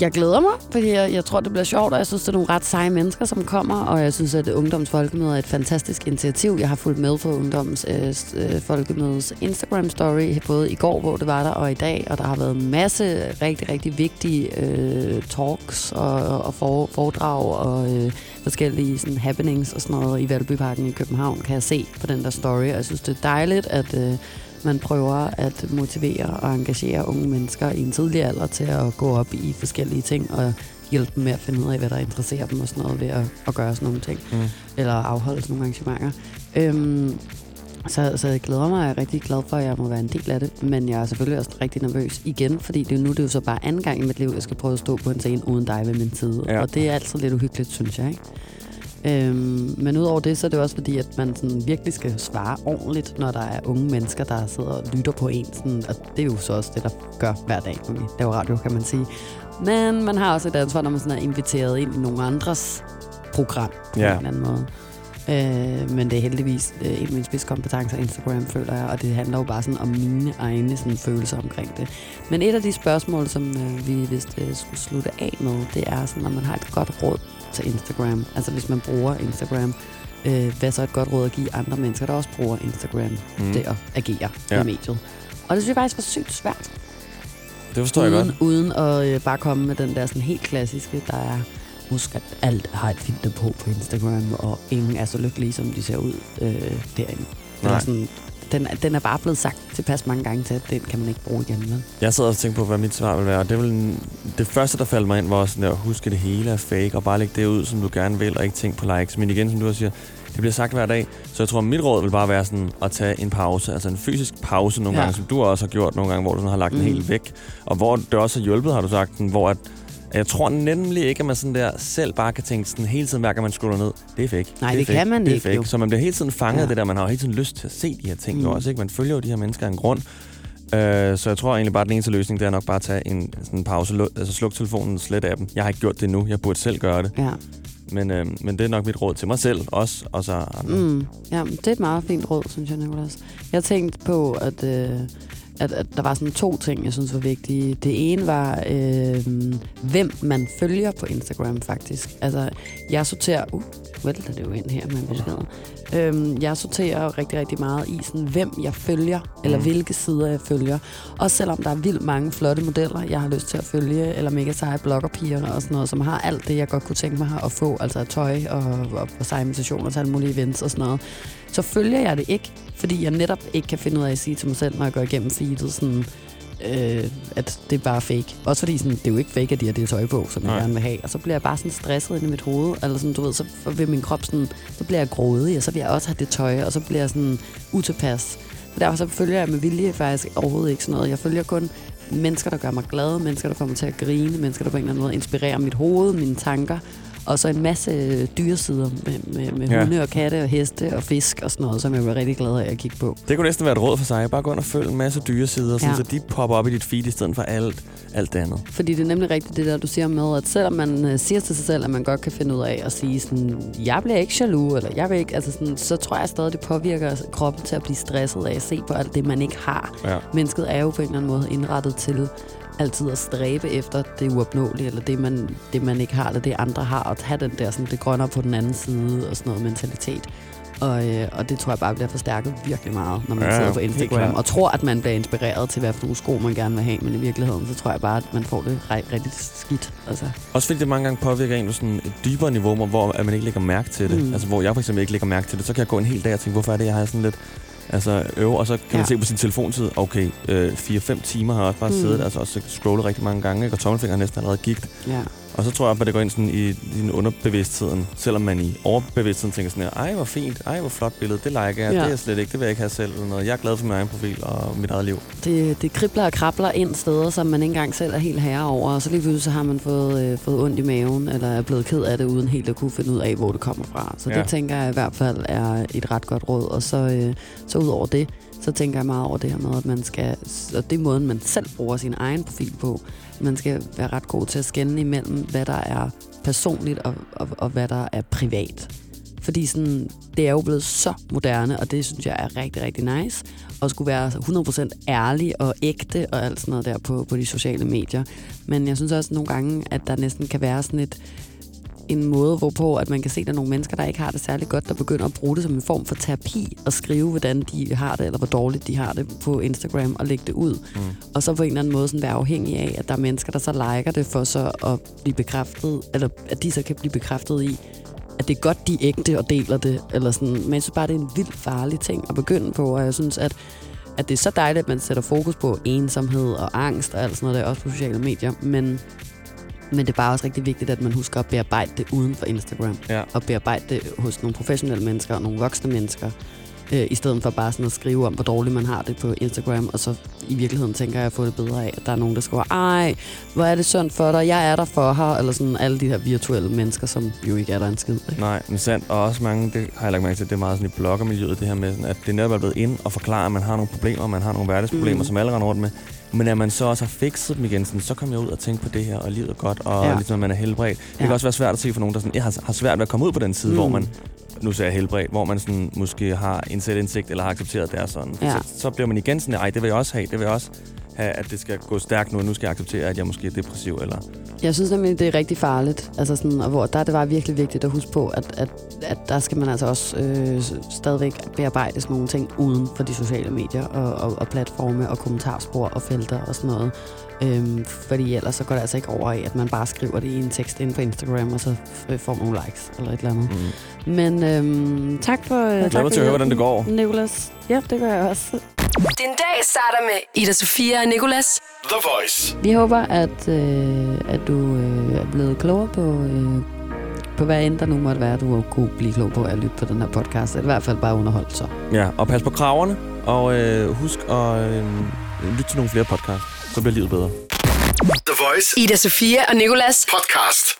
Speaker 2: Jeg glæder mig, fordi jeg, jeg tror, det bliver sjovt, og jeg synes, det er nogle ret seje mennesker, som kommer, og jeg synes, at Ungdommens Folkemøde er et fantastisk initiativ. Jeg har fulgt med på Ungdommens øh, s- øh, Folkemødes Instagram-story, både i går, hvor det var der, og i dag, og der har været en masse rigtig, rigtig vigtige øh, talks og, og for, foredrag og øh, forskellige sådan, happenings og sådan noget i Valbyparken i København, kan jeg se på den der story, og jeg synes, det er dejligt, at... Øh, man prøver at motivere og engagere unge mennesker i en tidlig alder til at gå op i forskellige ting og hjælpe dem med at finde ud af, hvad der interesserer dem og sådan noget ved at, at gøre sådan nogle ting. Mm.
Speaker 12: Mm.
Speaker 2: Eller afholde sådan nogle arrangementer. Øhm, så, så jeg glæder mig, og jeg er rigtig glad for, at jeg må være en del af det. Men jeg er selvfølgelig også rigtig nervøs igen, fordi det er nu det er jo så bare anden gang i mit liv, jeg skal prøve at stå på en scene uden dig ved min side. Ja.
Speaker 12: Ja.
Speaker 2: Og det er altid lidt uhyggeligt, synes jeg. Ikke? Øhm, men udover det, så er det jo også fordi, at man sådan virkelig skal svare ordentligt, når der er unge mennesker, der sidder og lytter på en. Sådan, og det er jo så også det, der gør hver dag, når vi laver radio, kan man sige. Men man har også et ansvar, når man sådan er inviteret ind i nogle andres program på
Speaker 3: Ja.
Speaker 2: en eller anden måde. Øh, men det er heldigvis øh, en af mine spidskompetencer, Instagram, føler jeg, og det handler jo bare sådan om mine egne sådan, følelser omkring det. Men et af de spørgsmål, som øh, vi vist øh, skulle slutte af med, det er sådan, når man har et godt råd til Instagram, altså hvis man bruger Instagram, øh, hvad så er et godt råd at give andre mennesker, der også bruger Instagram, mm.
Speaker 3: Mm.
Speaker 2: det at agere ja.
Speaker 3: Ja.
Speaker 2: i mediet. Og det synes jeg faktisk var sygt svært.
Speaker 3: Det forstår jeg
Speaker 2: uden,
Speaker 3: godt.
Speaker 2: Uden at øh, bare komme med den der sådan helt klassiske, der er husk, at alt har et filter på på Instagram, og ingen er så lykkelige, som de ser ud øh, derinde. Eller
Speaker 3: Nej.
Speaker 2: sådan, den, er- den er bare blevet sagt tilpas mange gange til, at den kan man ikke bruge igen. Med.
Speaker 3: Jeg sad og tænkte på, hvad mit svar ville være, og det, ville, det første, der faldt mig ind, var sådan, at huske det hele er fake, og bare lægge det ud, som du gerne vil, og ikke tænke på likes. Men igen, som du også siger, det bliver sagt hver dag, så jeg tror, mit råd vil bare være sådan at tage en pause, altså en fysisk pause nogle
Speaker 5: Ja.
Speaker 3: ja. gange, som du også har gjort nogle gange, hvor du sådan har lagt mm. den
Speaker 5: Mm.
Speaker 3: helt væk, og hvor det også har hjulpet, har du sagt, sådan, hvor at, at jeg tror nemlig ikke, at man sådan der selv bare kan tænke sådan hele tiden, hver gang man scroller ned, det er fake.
Speaker 2: Nej,
Speaker 3: er
Speaker 2: det
Speaker 3: fake,
Speaker 2: kan man
Speaker 3: det er
Speaker 2: ikke,
Speaker 3: Fake.
Speaker 2: jo.
Speaker 3: Så man bliver hele tiden fanget ja.
Speaker 2: Ja.
Speaker 3: af det der, man har jo hele tiden lyst til at se de her ting mm.
Speaker 2: Mm.
Speaker 3: også, ikke? Man følger jo de her mennesker af en grund, Øh, så jeg tror egentlig bare, at den eneste løsning, det er nok bare at tage en sådan en pause. Lu- altså sluk telefonen, slet appen. Jeg har ikke gjort det nu. Jeg burde selv gøre det.
Speaker 2: Ja.
Speaker 3: Men, øh, men det er nok mit råd til mig selv også, og så andre. Mm.
Speaker 2: Mm. Ja, men det er et meget fint råd, synes jeg, Nicolas. Jeg tænkte på, at, øh, at, at der var sådan to ting, jeg synes var vigtige. Det ene var, øh, hvem man følger på Instagram, faktisk. Altså, jeg sorterer... Uh, vælter det jo ind her med beskeder. Øhm, jeg sorterer rigtig, rigtig meget i, sådan, hvem jeg følger, eller
Speaker 10: Mm.
Speaker 2: hvilke sider jeg følger. Også selvom der er vildt mange flotte modeller, jeg har lyst til at følge, eller mega seje bloggerpiger og sådan noget, som har alt det, jeg godt kunne tænke mig at få, altså af tøj og, og, og seje invitationer til alle mulige events og sådan noget. Så følger jeg det ikke, fordi jeg netop ikke kan finde ud af at sige til mig selv, når jeg går igennem feedet, sådan, øh, at det er bare fake. Også fordi sådan, det er jo ikke fake, at de har det tøj på, som jeg
Speaker 10: Nej.
Speaker 2: gerne vil have. Og så bliver jeg bare sådan stresset ind i mit hoved, eller sådan, du ved, så f- vil min krop sådan, så bliver jeg grådig, og så vil jeg også have det tøj, og så bliver jeg sådan utilpas. Så derfor så følger jeg med vilje faktisk overhovedet ikke sådan noget. Jeg følger kun mennesker, der gør mig glad, mennesker, der får mig til at grine, mennesker, der på en eller anden måde inspirerer mit hoved, mine tanker, og så en masse øh, dyresider med, med, med
Speaker 3: Ja.
Speaker 2: ja. hunde og katte og heste og fisk og sådan noget, som jeg var rigtig glad af at kigge på.
Speaker 3: Det kunne næsten være et råd for sig. Bare gå ind og følg en masse dyre sider, ja.
Speaker 2: Ja.
Speaker 3: så de popper op i dit feed i stedet for alt, alt det andet.
Speaker 2: Fordi det er nemlig rigtigt det der, du siger med, at selvom man øh, siger til sig selv, at man godt kan finde ud af at sige sådan, jeg bliver ikke jaloux, eller jeg vil ikke, altså sådan, så tror jeg stadig, det påvirker kroppen til at blive stresset af at se på alt det, man ikke har.
Speaker 3: Ja.
Speaker 2: Mennesket er jo på en eller anden måde indrettet til altid at stræbe efter det uopnåelige, eller det man, det, man ikke har, eller det andre har, og have den der sådan, det grønner på den anden side, og sådan noget mentalitet. Og, øh, og det tror jeg bare bliver forstærket virkelig meget, når man
Speaker 3: Ja,
Speaker 2: ja, sidder
Speaker 3: ja,
Speaker 2: på
Speaker 3: helt
Speaker 2: Instagram
Speaker 3: klart.
Speaker 2: og tror, at man bliver inspireret til, hvad for nogle sko man gerne vil have, men i virkeligheden, så tror jeg bare, at man får det re- rigtig skidt. Altså.
Speaker 3: Også fordi det mange gange påvirker en på sådan et dybere niveau, hvor- hvor at man ikke lægger mærke til det. Mm.
Speaker 2: Mm.
Speaker 3: Altså hvor jeg for eksempel ikke lægger mærke til det, så kan jeg gå en hel dag og tænke, hvorfor er det, jeg har sådan lidt altså øve, og så kan ja. man
Speaker 2: Ja.
Speaker 3: se på sin telefontid, okay, øh, 4-5 timer har jeg også bare mm.
Speaker 2: Mm.
Speaker 3: siddet, altså også scrollet rigtig mange gange, ikke? og tommelfingeren er næsten allerede gigt.
Speaker 2: Ja.
Speaker 3: Og så tror jeg, at det går ind sådan i din underbevidstheden, selvom man i overbevidstheden tænker sådan her, ej hvor fint, ej hvor flot billede, det liker jeg, ja.
Speaker 2: Ja.
Speaker 3: det er jeg slet ikke, det vil jeg ikke have selv, eller noget. jeg er glad for min egen profil og mit eget liv.
Speaker 2: Det, det kribler og krabler ind steder, som man ikke engang selv er helt herre over, og så lige pludselig så har man fået, øh, fået ondt i maven, eller er blevet ked af det, uden helt at kunne finde ud af, hvor det kommer fra. Så ja.
Speaker 10: Ja.
Speaker 2: det tænker jeg i hvert fald er et ret godt råd. Og så, øh, så ud over det, så tænker jeg meget over det her med, at man skal, og det er måden, man selv bruger sin egen profil på, man skal være ret god til at skænde imellem, hvad der er personligt, og, og, og hvad der er privat. Fordi sådan, det er jo blevet så moderne, og det synes jeg er rigtig, rigtig nice. Og skulle være 100% ærlig og ægte og alt sådan noget der på, på de sociale medier. Men jeg synes også nogle gange, at der næsten kan være sådan et, en måde, hvorpå at man kan se, at der er nogle mennesker, der ikke har det særlig godt, der begynder at bruge det som en form for terapi og skrive, hvordan de har det, eller hvor dårligt de har det på Instagram og lægge det ud. Mm. Og så på en eller anden måde sådan være afhængig af, at der er mennesker, der så liker det for så at blive bekræftet, eller at de så kan blive bekræftet i, at det er godt, de er ægte og deler det, eller sådan. Men jeg synes bare, det er en vildt farlig ting at begynde på, og jeg synes, at, at det er så dejligt, at man sætter fokus på ensomhed og angst og alt sådan noget der, også på sociale medier, men men det er bare også rigtig vigtigt, at man husker at bearbejde det uden for Instagram.
Speaker 3: Ja.
Speaker 2: Og bearbejde det hos nogle professionelle mennesker og nogle voksne mennesker. Øh, I stedet for bare sådan at skrive om, hvor dårligt man har det på Instagram. Og så i virkeligheden tænker jeg at få det bedre af, at der er nogen, der skriver, ej, hvor er det synd for dig, jeg er der for her. Eller sådan alle de her virtuelle mennesker, som jo ikke er der en skid.
Speaker 3: Nej, men sandt. Og også mange, det har jeg lagt mærke til, det er meget sådan i bloggermiljøet, det her med, sådan, at det netop er blevet ind og forklare, at man har nogle problemer, man har nogle hverdagsproblemer, mm.
Speaker 2: Mm.
Speaker 3: som alle render rundt med. Men at man så også har fikset dem igen, sådan, så kommer jeg ud og tænker på det her, og livet er godt, og ja.
Speaker 2: Ja.
Speaker 3: ligesom, at man er helbredt. Det ja.
Speaker 2: Ja.
Speaker 3: kan også være svært at se for nogen, der sådan, jeg har, har svært ved at komme ud på den side, mm.
Speaker 2: Mm.
Speaker 3: hvor man nu ser jeg helbredt, hvor man sådan, måske har en selvindsigt, eller har accepteret, at det er sådan.
Speaker 2: Ja.
Speaker 3: Så, så, bliver man igen sådan, nej, det vil jeg også have, det vil jeg også. have, at det skal gå stærkt nu, og nu skal jeg acceptere, at jeg måske er depressiv, eller
Speaker 2: Jeg synes nemlig, det er rigtig farligt. Altså sådan, og hvor der er det bare virkelig vigtigt at huske på, at, at, at der skal man altså også øh, stadigvæk bearbejde sådan nogle ting uden for de sociale medier og, og, og platforme og kommentarspor og felter og sådan noget. Øhm, fordi ellers så går det altså ikke over i, at man bare skriver det i en tekst inde på Instagram, og så øh, får man nogle likes eller et eller andet. Mm. Men øhm, tak for...
Speaker 3: Jeg glæder mig til at høre, hvordan det går.
Speaker 2: Nicolas. Ja, det gør jeg også.
Speaker 1: Din dag starter med Ida Sofia og Nicolas.
Speaker 6: The Voice.
Speaker 2: Vi håber, at, øh, at du øh, er blevet klogere på, øh, på hvad end der nu måtte være, du kunne blive klog på at lytte på den her podcast. Eller i hvert fald bare underholdt så.
Speaker 3: Ja, og pas på kraverne, og øh, husk at øh, lytte til nogle flere podcasts, så bliver livet bedre.
Speaker 1: The Voice. Ida Sofia og Nicolas. Podcast.